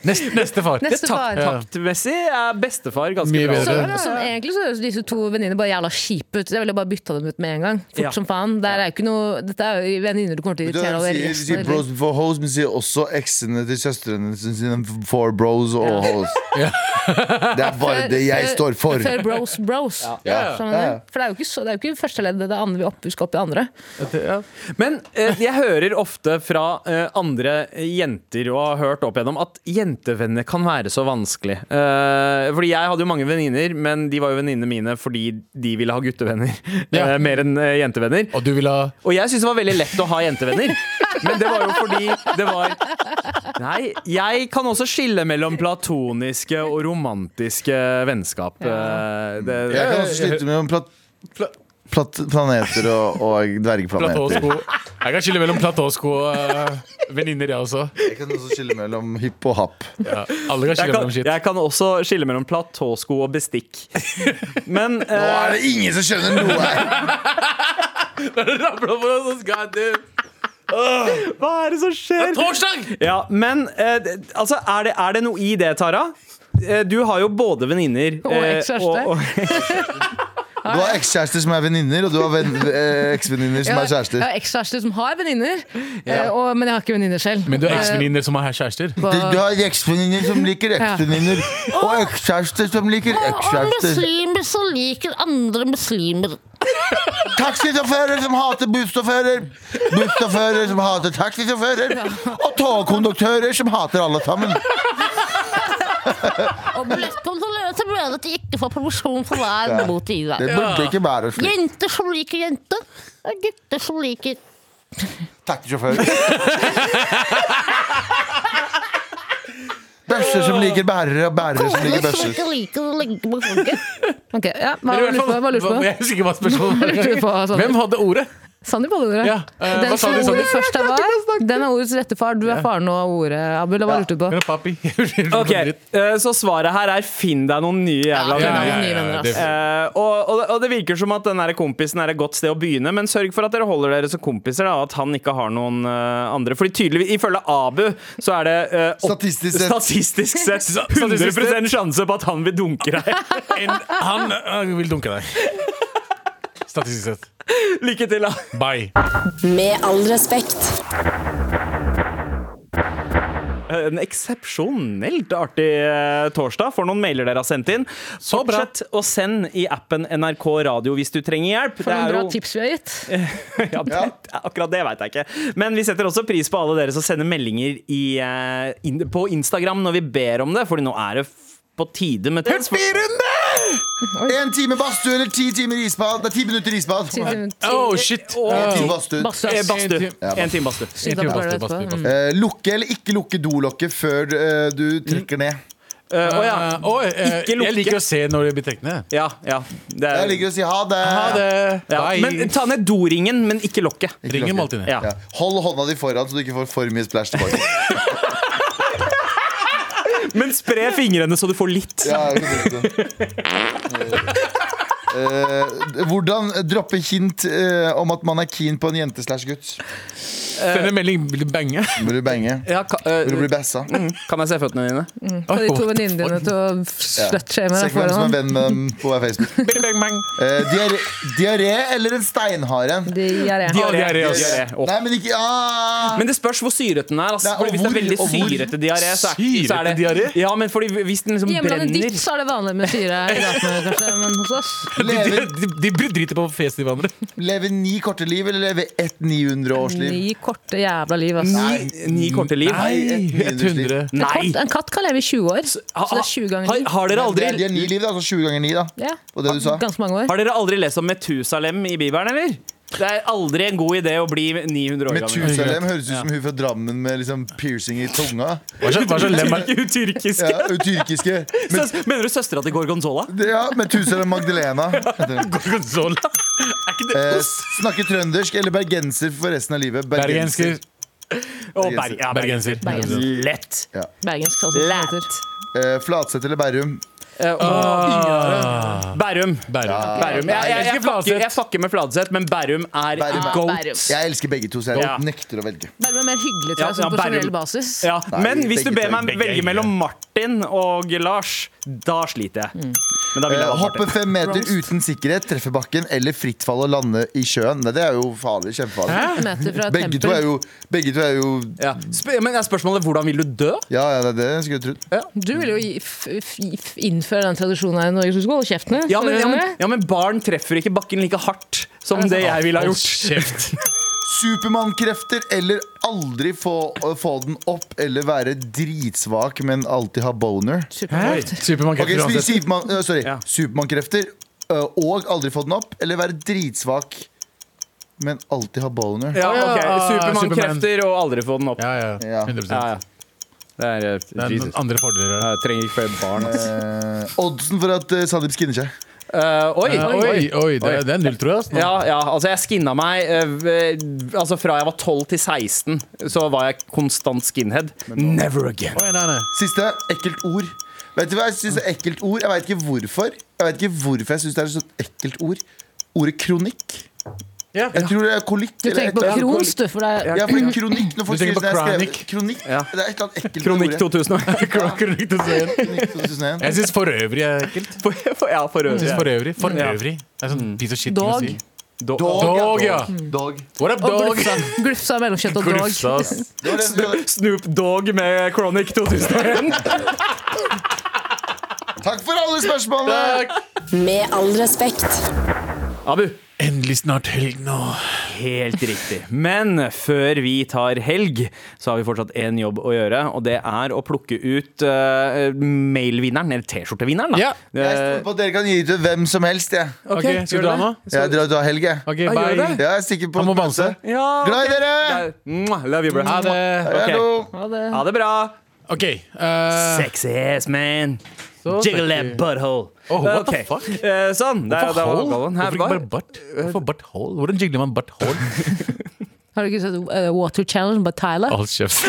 Speaker 3: Neste, neste far.
Speaker 5: Neste far.
Speaker 2: Taktmessig er bestefar ganske
Speaker 3: Mye
Speaker 2: bra.
Speaker 5: Så,
Speaker 3: bedre.
Speaker 5: så egentlig så høres disse to venninner bare jævla kjipe ut. Jeg ville bare bytta dem ut med en gang. Fort
Speaker 2: Ja.
Speaker 5: som faen. Der er jo ikke noe, dette er jo venninner du kommer til å
Speaker 4: Du
Speaker 5: irritere over
Speaker 4: sier,
Speaker 5: resten
Speaker 4: sier
Speaker 5: av
Speaker 4: bros
Speaker 5: livet.
Speaker 4: before hoes, men sier også eksene til søstrene sine for bros og hoes. Det er bare det jeg står for.
Speaker 5: Før bros, bros.
Speaker 4: Ja.
Speaker 5: Skjønner
Speaker 4: Ja, ja.
Speaker 5: du? For det er jo ikke, så, det er jo ikke første leddet, det er andre vi opp, vi skal opp i andre.
Speaker 2: Men eh, jeg hører ofte fra eh, andre jenter og har hørt opp igjennom at jentevenner kan være så vanskelig. Eh, fordi jeg hadde jo mange venninner, men de var jo venninnene mine fordi de ville ha guttevenner
Speaker 3: Ja.
Speaker 2: eh, mer enn eh, jentevenner.
Speaker 3: Og du vil ha
Speaker 2: Og jeg syntes det var veldig lett å ha jentevenner. Men det var jo fordi det var Nei, jeg kan også skille mellom platoniske og romantiske vennskap. Eh, det,
Speaker 4: Jeg kan også slutte med plat, plat, planeter og, og dvergplaneter.
Speaker 3: platåsko? Jeg kan skille mellom platåsko og eh, venninner, jeg også.
Speaker 4: Jeg kan også skille mellom hipp og happ.
Speaker 3: Ja. Alle kan
Speaker 2: Jeg
Speaker 3: skille
Speaker 2: kan,
Speaker 3: mellom shit.
Speaker 2: jeg kan også skille mellom platåsko og bestikk. Men
Speaker 4: Nå
Speaker 2: eh,
Speaker 4: er det ingen som skjønner noe her!
Speaker 2: hva er det som skjer?
Speaker 3: Torsdag!
Speaker 2: Ja, men eh, det- altså, er det, er det noe i det, Tara? Eh, Du har jo både venninner
Speaker 5: Og
Speaker 2: eh,
Speaker 5: ekskjæreste.
Speaker 2: og- og-
Speaker 4: Du har ekskjærester som er venninner, og du har ven- eh, eksvenninner som er
Speaker 5: Jeg
Speaker 4: kjærester.
Speaker 5: har ekskjærester som har venninner, eh, og- men jeg har ikke venninner selv.
Speaker 3: Men du har
Speaker 5: Eh,
Speaker 3: eksvenninner som har kjærester?
Speaker 5: på-
Speaker 4: Du, du har eksvenninner som liker eksvenninner, og ekskjærester som liker
Speaker 8: Og
Speaker 4: ekskjærester.
Speaker 8: muslimer som liker andre muslimer.
Speaker 4: Taxisjåfører som hater bussjåfører. Bussjåfører som hater taxisjåfører. Og togkonduktører som hater alle sammen.
Speaker 5: Og billettkontrollører som mener at de ikke får provisjon for hver
Speaker 4: Ja.
Speaker 5: mot de
Speaker 4: Det
Speaker 5: der.
Speaker 4: burde ikke være slik.
Speaker 5: Jenter som liker jenter, og gutter som liker
Speaker 4: Taxisjåfører. Bøsser som liker bærere, og bærere som liker
Speaker 5: Koner som
Speaker 4: bøsser.
Speaker 5: ikke liker å ligge med folket. Ok, ja, hva
Speaker 3: Eller i hvert
Speaker 5: lurte du på?
Speaker 3: fall-
Speaker 5: Hva lurte du på?
Speaker 3: Jeg husker ikke hva spørsmålet
Speaker 5: Hva lurte du på,
Speaker 3: var.
Speaker 5: Sander?
Speaker 3: Hvem hadde ordet?
Speaker 5: Sandeep hadde ordet.
Speaker 3: Ja, eh, hva sa
Speaker 5: Den som
Speaker 3: du,
Speaker 5: ordet
Speaker 3: Sandeep?
Speaker 5: først er var, den er ordets rette far. Du er faren og ordet, Abul. og Hva lurte du på?
Speaker 3: Eller papi? Jeg husker ikke
Speaker 2: Ok,
Speaker 3: noe dritt.
Speaker 2: eh, Så svaret her er finn deg noen nye jævla
Speaker 5: Ja,
Speaker 2: venner.
Speaker 5: ja, nye venner, altså.
Speaker 3: det-
Speaker 5: ass.
Speaker 2: Eh, og, og, og det virker som at den her kompisen er et godt sted å begynne, men sørg for at dere holder dere som kompiser, da, og at han ikke har noen eh, andre. Fordi tydeligvis, ifølge Abu, så er det eh, åt-
Speaker 4: Statistisk sett.
Speaker 2: statistisk sett
Speaker 3: Statistisk
Speaker 2: 100 sjanse på at han vil dunke deg.
Speaker 3: En, han øh, vil dunke deg. Statistisk sett.
Speaker 2: Lykke til, da.
Speaker 3: Bye.
Speaker 1: Med all respekt.
Speaker 2: Eh, En eksepsjonelt artig eh, torsdag for noen mailer dere har sendt inn.
Speaker 3: Så bra.
Speaker 2: Fortsett å sende i appen NRK Radio hvis du trenger hjelp.
Speaker 5: For
Speaker 2: Det
Speaker 5: noen
Speaker 2: er
Speaker 5: bra
Speaker 2: jo-
Speaker 5: tips vi har gitt.
Speaker 2: ja, det, akkurat det veit jeg ikke. Men vi setter også pris på alle dere som sender meldinger i, eh, inn- på Instagram når vi ber om det, Fordi nå er det f- på tide med det.
Speaker 4: En time badstue eller ti timer isbad. Det er ti minutter isbad.
Speaker 3: Oh, shit.
Speaker 2: Åh.
Speaker 4: Ti
Speaker 3: Oh.
Speaker 4: badstue.
Speaker 2: Eh,
Speaker 5: Basse.
Speaker 2: Badstue.
Speaker 4: Ja,
Speaker 2: En time badstue.
Speaker 5: Sykt at du klarer det
Speaker 3: Bastu, bastu,
Speaker 5: etterpå.
Speaker 3: bastu.
Speaker 5: Mm.
Speaker 4: Eh, lukke eller ikke lukke dolokket før eh, du trekker ned.
Speaker 2: Eh, Å ja.
Speaker 3: Eh, oi, eh,
Speaker 2: Ikke lukke.
Speaker 3: Jeg liker å se når det blir trukket ned.
Speaker 2: Ja, ja. Det er-
Speaker 4: Jeg liker å si ha det.
Speaker 3: Ha det.
Speaker 2: ja.
Speaker 3: Bye.
Speaker 2: Men ta ned doringen, men ikke lokket.
Speaker 3: Ringer Maltine.
Speaker 2: Ja.
Speaker 4: Ja. Hold hånda di foran, så du ikke får for mye splæsj tilbake.
Speaker 2: Men spre fingrene så du får litt.
Speaker 4: Ja, jeg har ikke tenkt det. Eh, hvordan droppe hint eh, om at man er keen på en jente slash gutt?
Speaker 3: Send en melding. Vil du bange?
Speaker 4: Vil du bange?
Speaker 2: Ja, ka, eh,
Speaker 4: Vil du bli bassa?
Speaker 2: kan jeg se føttene dine?
Speaker 5: Få de to venninnene dine til å slutshame
Speaker 4: Se
Speaker 5: deg
Speaker 4: ikke hvem som er
Speaker 5: foran.
Speaker 4: venn med dem på Facebook.
Speaker 3: Bang, bang, bang.
Speaker 4: Eh, diaré, diaré eller en steinhare?
Speaker 5: De er det.
Speaker 3: Diaré, ass.
Speaker 2: Diaré, å.
Speaker 4: Nei, men ikke ah!
Speaker 2: Men det spørs hvor syrete den er. Altså.
Speaker 4: Nei, og
Speaker 2: Fordi hvis det er
Speaker 4: hvor-
Speaker 2: veldig
Speaker 4: og hvor
Speaker 2: syrete diaré, så er, så er
Speaker 3: syrete diaré?
Speaker 2: det Ja, men fordi hvis den liksom
Speaker 5: Hjemlandet
Speaker 2: brenner
Speaker 5: ditt så er det vanlig med syre i gatene, kanskje, men hos oss
Speaker 3: De, de,
Speaker 4: Leve,
Speaker 3: de, de driter på fjeset til hverandre.
Speaker 4: leve ni korte liv eller leve ett 900 års liv?
Speaker 5: Ni korte jævla liv, ass.
Speaker 2: Ni, ni korte liv.
Speaker 3: Nei,
Speaker 4: et minusliv.
Speaker 3: 100.
Speaker 5: En katt, en katt kan leve i 20 år, så
Speaker 2: Ha-
Speaker 5: det er 20 ganger
Speaker 2: har,
Speaker 5: liv.
Speaker 2: har, dere
Speaker 4: Det er, de
Speaker 2: aldri,
Speaker 4: er ni liv, da. Altså sju ganger ni, da.
Speaker 5: Ja.
Speaker 4: Og det du sa?
Speaker 5: Ganske mange år.
Speaker 2: har dere aldri lest om Metusalem i Bibelen, eller? Det er aldri en god idé å bli 900 år gammel.
Speaker 4: Metusalem høres ut som hun fra Drammen med liksom piercing i tunga.
Speaker 3: Hva slags- hva slags lem er
Speaker 2: Ikke tyrkisk.
Speaker 4: Ja, og tyrkiske. Men,
Speaker 2: Søs- Mener du søstera til Gorgonzola?
Speaker 4: ja, Metusalem Magdalena.
Speaker 3: Gorgonzola? Er ikke det
Speaker 4: Eh, snakke trøndersk eller bergenser for resten av livet?
Speaker 3: Bergensker.
Speaker 2: Og Berg, ja,
Speaker 3: Bergenser.
Speaker 5: Bergenser.
Speaker 2: Lett.
Speaker 5: Bergensk, altså. som det heter.
Speaker 4: Eh, Flatseth eller Bærum?
Speaker 2: Eh, og- Bærum.
Speaker 3: Ah, Bergen.
Speaker 2: Bærum. Jeg, jeg, jeg,
Speaker 3: Ikke
Speaker 2: fucker,
Speaker 3: Fladseth.
Speaker 2: jeg fucker med Fladseth, men Bærum er
Speaker 4: Bærum er-
Speaker 2: goat.
Speaker 5: Bærum.
Speaker 4: Jeg elsker begge to, så jeg
Speaker 2: Ja.
Speaker 4: nekter å velge.
Speaker 5: Bærum er mer hyggelig, tror
Speaker 2: Ja,
Speaker 5: jeg, sånn
Speaker 2: ja,
Speaker 5: på generell
Speaker 2: Bærum.
Speaker 5: basis.
Speaker 2: Ja,
Speaker 4: Nei,
Speaker 2: men hvis du
Speaker 4: begge
Speaker 2: ber
Speaker 4: to-
Speaker 2: meg
Speaker 3: begge er
Speaker 2: velge
Speaker 3: ille.
Speaker 2: mellom Martin og Lars, da sliter jeg. Men da vil
Speaker 4: Eh,
Speaker 2: jeg ha
Speaker 4: hoppe
Speaker 2: Martin.
Speaker 4: fem meter
Speaker 5: Roast.
Speaker 4: uten sikkerhet, treffe bakken eller fritt fall og lande i sjøen. Nei, det er jo farlig. Kjempefarlig.
Speaker 5: Meter fra et
Speaker 4: Begge to er
Speaker 5: tempel.
Speaker 4: jo Begge to er jo
Speaker 2: Ja. Sp- Men er spørsmålet hvordan vil du dø?
Speaker 4: Ja, ja, det er det jeg skulle trodd.
Speaker 5: Du ville jo gi- f- f- innføre den tradisjonen her i Norge, så du skulle holde kjeften.
Speaker 2: Ja men, ja, men, ja, men barn treffer ikke bakken like hardt som det jeg ville ha
Speaker 3: Hold
Speaker 2: gjort.
Speaker 3: kjeft.
Speaker 4: Supermannkrefter eller aldri få, å få den opp eller være dritsvak, men alltid ha boner.
Speaker 5: Superkrefter.
Speaker 3: Supermann
Speaker 4: Ok,
Speaker 3: Kepler
Speaker 4: sp-
Speaker 3: uansett.
Speaker 4: Superman, øh, sorry,
Speaker 2: Ja.
Speaker 4: Supermannkrefter øh, og aldri få den opp, eller være dritsvak, men alltid ha boner.
Speaker 2: Ja, ok,
Speaker 3: Ja, Superman.
Speaker 2: Supermann-krefter og aldri få den opp.
Speaker 3: Ja, ja.
Speaker 4: Ja.
Speaker 3: 100
Speaker 2: Ja, ja. Det er eh,
Speaker 3: Det er
Speaker 2: Jesus.
Speaker 3: noen andre fordeler. her.
Speaker 2: Jeg trenger ikke flere barn. altså. ass.
Speaker 4: Eh, oddsen for at uh, Sandeep skinner seg.
Speaker 2: Eh, oi,
Speaker 3: Eh, Oi, oi, det er, det er null, tror jeg. ass, nå.
Speaker 2: Ja, ja, altså jeg skinna meg eh, v- Altså Fra jeg var 12 til 16, så var jeg konstant skinhead. Never again.
Speaker 3: Oi, nei, nei.
Speaker 4: Siste ekkelt ord. Vet du hva jeg syns er ekkelt ord? Jeg veit ikke hvorfor. Jeg vet ikke hvorfor jeg synes det er et sånt ekkelt ord. Ordet kronikk.
Speaker 3: Ja.
Speaker 4: Jeg tror det er kolikk.
Speaker 5: Du
Speaker 4: eller
Speaker 5: tenker
Speaker 4: et eller
Speaker 5: på
Speaker 4: annet.
Speaker 5: krons, du, for det er
Speaker 4: Ja, for kronikk når folk
Speaker 3: Du tenker
Speaker 4: sier
Speaker 3: på
Speaker 4: sånn, jeg skrev-
Speaker 3: kronikk.
Speaker 4: kronikk.
Speaker 2: Ja.
Speaker 4: Det er et eller annet ekkelt
Speaker 2: Kronikk
Speaker 4: med ordet.
Speaker 2: 2000.
Speaker 3: Kronikk til serien.
Speaker 4: Kronikk 2001.
Speaker 3: Jeg syns for øvrig er ekkelt.
Speaker 2: For, for, ja, for
Speaker 3: Jeg synes
Speaker 2: øvrig.
Speaker 3: for øvrig. For
Speaker 2: Ja.
Speaker 3: øvrig. Det er sånn piece of shit.
Speaker 5: Dog.
Speaker 3: ting å si.
Speaker 2: Dog.
Speaker 3: Dog, ja. Mm.
Speaker 4: Dog.
Speaker 3: What up,
Speaker 5: Og
Speaker 3: dog?
Speaker 5: glufsa. Glufsa av mellomkjøtt og
Speaker 3: Glufsa,
Speaker 5: dog.
Speaker 3: ass.
Speaker 4: Det var det- det var-
Speaker 2: Snoop Dogg med Chronic 2001.
Speaker 4: Takk for alle spørsmålene!
Speaker 1: Med all respekt.
Speaker 2: Abu,
Speaker 3: En endelig snart helg nå.
Speaker 2: Helt riktig. Men før vi tar helg, så har vi fortsatt én jobb å gjøre, og det er å plukke ut eh, mailvinneren, eller T-skjortevinneren, da. Eh,
Speaker 3: Ja.
Speaker 4: Jeg stoler på at dere kan gi ut til hvem som helst, jeg.
Speaker 3: Ok, Skal
Speaker 2: gjør
Speaker 3: du dra
Speaker 2: det.
Speaker 3: nå?
Speaker 4: Jeg drar ut av helg, jeg.
Speaker 3: Ok,
Speaker 2: Ja, gjør
Speaker 3: bye.
Speaker 2: det.
Speaker 4: Ja, jeg stikker på
Speaker 3: Han må
Speaker 4: et møte.
Speaker 3: bamse.
Speaker 2: Ja,
Speaker 4: Glad i
Speaker 2: ok.
Speaker 4: dere!
Speaker 2: Mwah, Love you, bro.
Speaker 3: Ha det.
Speaker 2: Ok.
Speaker 4: Hallo.
Speaker 2: Ha det bra.
Speaker 3: Ok. eh,
Speaker 2: Sexy ass man.
Speaker 3: så
Speaker 2: Jiggle
Speaker 3: tenker
Speaker 2: that
Speaker 3: vi-
Speaker 2: butthole.
Speaker 3: Oh, what the
Speaker 2: Ok.
Speaker 3: fuck?
Speaker 2: Eh, sånn. Der,
Speaker 3: Hvorfor
Speaker 2: der var
Speaker 3: hole?
Speaker 2: oppgaven. Her
Speaker 3: Hvorfor ikke
Speaker 2: var
Speaker 3: bare butt? Hvorfor butt hole? Hvordan jigler man butt hole?
Speaker 5: Har du ikke sett eh, Water Challenge med Tyler?
Speaker 3: Alt kjeft.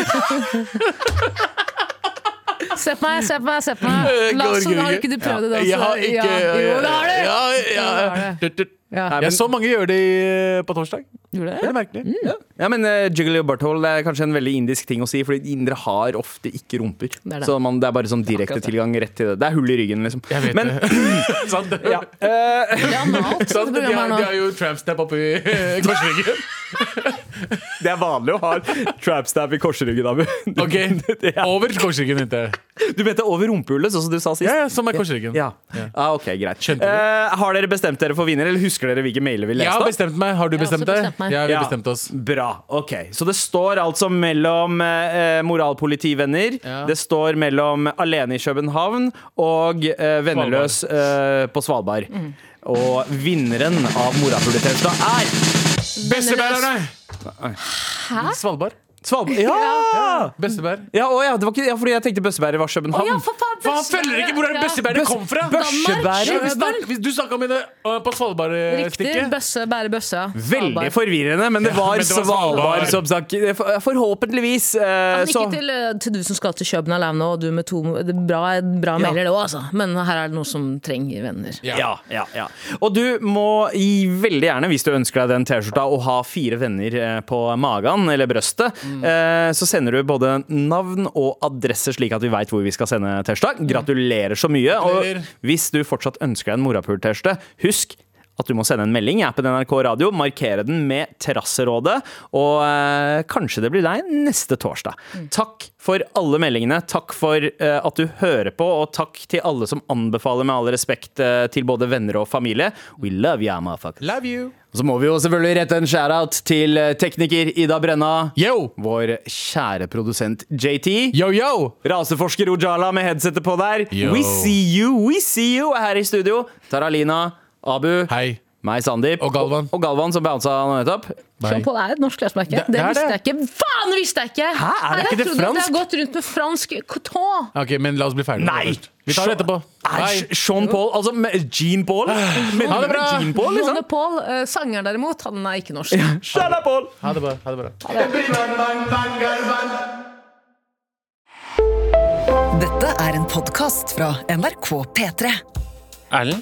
Speaker 5: Se på meg, se på meg! se på meg Lasse, har ikke du prøvd å danse?
Speaker 3: Jeg har ikke
Speaker 5: Ja. Jo, det har du!
Speaker 3: Ja,
Speaker 5: Jo, det
Speaker 3: ja.
Speaker 5: har
Speaker 3: Tut, tut.
Speaker 5: Ja.
Speaker 2: Nei, men-
Speaker 3: Jeg så mange gjøre det i- på torsdag.
Speaker 5: Gjorde du det?
Speaker 3: Veldig merkelig.
Speaker 2: ja, men uh, jiggle your butthole er kanskje en veldig indisk ting å si, fordi indere har ofte ikke rumper.
Speaker 5: er det.
Speaker 2: Så man, det er bare sånn direkte tilgang rett til det. Det er hull i ryggen, liksom.
Speaker 3: Jeg vet
Speaker 2: men,
Speaker 3: det. Sant det.
Speaker 2: Ja, eh,
Speaker 5: Ja, analt, dette
Speaker 3: Sant, de, har,
Speaker 5: programmet her nå.
Speaker 3: de har jo trampstep oppi korsryggen.
Speaker 2: det er vanlig å ha trapstab i korsryggen, Abu. Du,
Speaker 3: Ok,
Speaker 2: Ja.
Speaker 3: Over korsryggen, tenkte jeg.
Speaker 2: du mente over rumpehullet, sånn som du sa sist.
Speaker 3: Ja, ja, som er korsryggen.
Speaker 2: Ja. Ah, ok, greit.
Speaker 3: Skjønte du?
Speaker 2: Eh, har dere bestemt dere for vinner, eller husker dere hvilke mailer vi
Speaker 3: Jeg
Speaker 2: leste?
Speaker 3: har
Speaker 2: opp?
Speaker 3: bestemt meg. Har du
Speaker 5: har også
Speaker 3: bestemt deg?
Speaker 5: bestemt meg.
Speaker 3: Ja, vi
Speaker 2: Ja.
Speaker 3: bestemte oss.
Speaker 2: Bra. ok Så det står altså mellom eh, moralpolitivenner,
Speaker 3: Ja.
Speaker 2: det står mellom Alene i København og eh, Venneløs eh, på Svalbard. Og vinneren av moralpolitivenner er
Speaker 3: Bestebærerne! Svalbard.
Speaker 2: Svalbard. Ja! Ja,
Speaker 3: Bestebær.
Speaker 2: å ja, det var ikke, ja, fordi jeg tenkte Bøssebærer var
Speaker 5: Å
Speaker 2: København.
Speaker 5: ja, for faen!
Speaker 3: For han følger ikke hvor er det bestebæret kom fra!
Speaker 2: Børsebærer?
Speaker 3: Ja, vi snak- vi- Du snakka med det øh, på
Speaker 5: Riktig.
Speaker 3: Svalbard-stikket.
Speaker 5: Bøsse, bære bøssa.
Speaker 2: Veldig forvirrende, men det
Speaker 3: Ja,
Speaker 2: var,
Speaker 3: men det var
Speaker 2: Svalbard,
Speaker 3: Svalbard.
Speaker 2: som sagt. eh, For- Forhåpentligvis. eh,
Speaker 5: Men
Speaker 2: så-
Speaker 5: ikke til, eh, til du som skal til København og du med to det er Bra, bra mailer, det òg, altså. Men her er det noe som trenger venner.
Speaker 2: Ja, ja, ja. Og du må i, veldig gjerne, hvis du ønsker deg den T-skjorta, å ha fire venner eh, på magen eller brøstet. Eh, så sender du både navn og adresse, slik at vi veit hvor vi skal sende T-skjorta. Gratulerer så mye.
Speaker 3: Gratulerer.
Speaker 2: Og hvis du fortsatt ønsker deg en morapul-T-skjorte, husk at du må sende en melding i appen NRK Radio, markere den med Terrasserådet, og eh, kanskje det blir deg neste torsdag. Takk for alle meldingene, takk for eh, at du hører på, og takk til alle som anbefaler med all respekt eh, til både venner og familie. We love you, motherfucker.
Speaker 3: Love you.
Speaker 2: Så må vi jo selvfølgelig rette en shout-out til eh, tekniker Ida Brenna,
Speaker 3: Yo!
Speaker 2: vår kjære produsent JT.
Speaker 3: Yo, yo!
Speaker 2: Raseforsker Ojala med headsetet på der.
Speaker 3: Yo.
Speaker 2: We see you, we see you er her i studio. Taralina, Abu,
Speaker 3: Hei.
Speaker 2: meg, Sandeep.
Speaker 3: Og Galvan.
Speaker 2: Og, og Galvan som bounsa nå nettopp.
Speaker 3: Bye.
Speaker 5: Jean-Paul er et norsk klesmerke.
Speaker 3: Det- det
Speaker 5: Det,
Speaker 3: er
Speaker 5: visste
Speaker 3: det.
Speaker 5: jeg ikke. Faen, det visste jeg ikke!
Speaker 2: Hæ, er det ikke
Speaker 5: Nei,
Speaker 2: det
Speaker 5: jeg trodde at jeg
Speaker 2: fransk?
Speaker 5: har gått rundt med fransk tå.
Speaker 3: Ok, men la oss bli ferdige.
Speaker 2: Nei!
Speaker 3: først. Vi tar det etterpå.
Speaker 2: Nei,
Speaker 3: Bye.
Speaker 2: Sean Paul, altså med Jean Paul. Men,
Speaker 3: Ha det bra.
Speaker 2: Jean Paul, liksom.
Speaker 5: Monopol, eh, sangeren derimot, han er ikke norsk.
Speaker 2: Shut up, Paul!
Speaker 3: Ha det bra. Ha det bra.
Speaker 8: Dette er en podkast fra NRK P3.
Speaker 9: Erlend,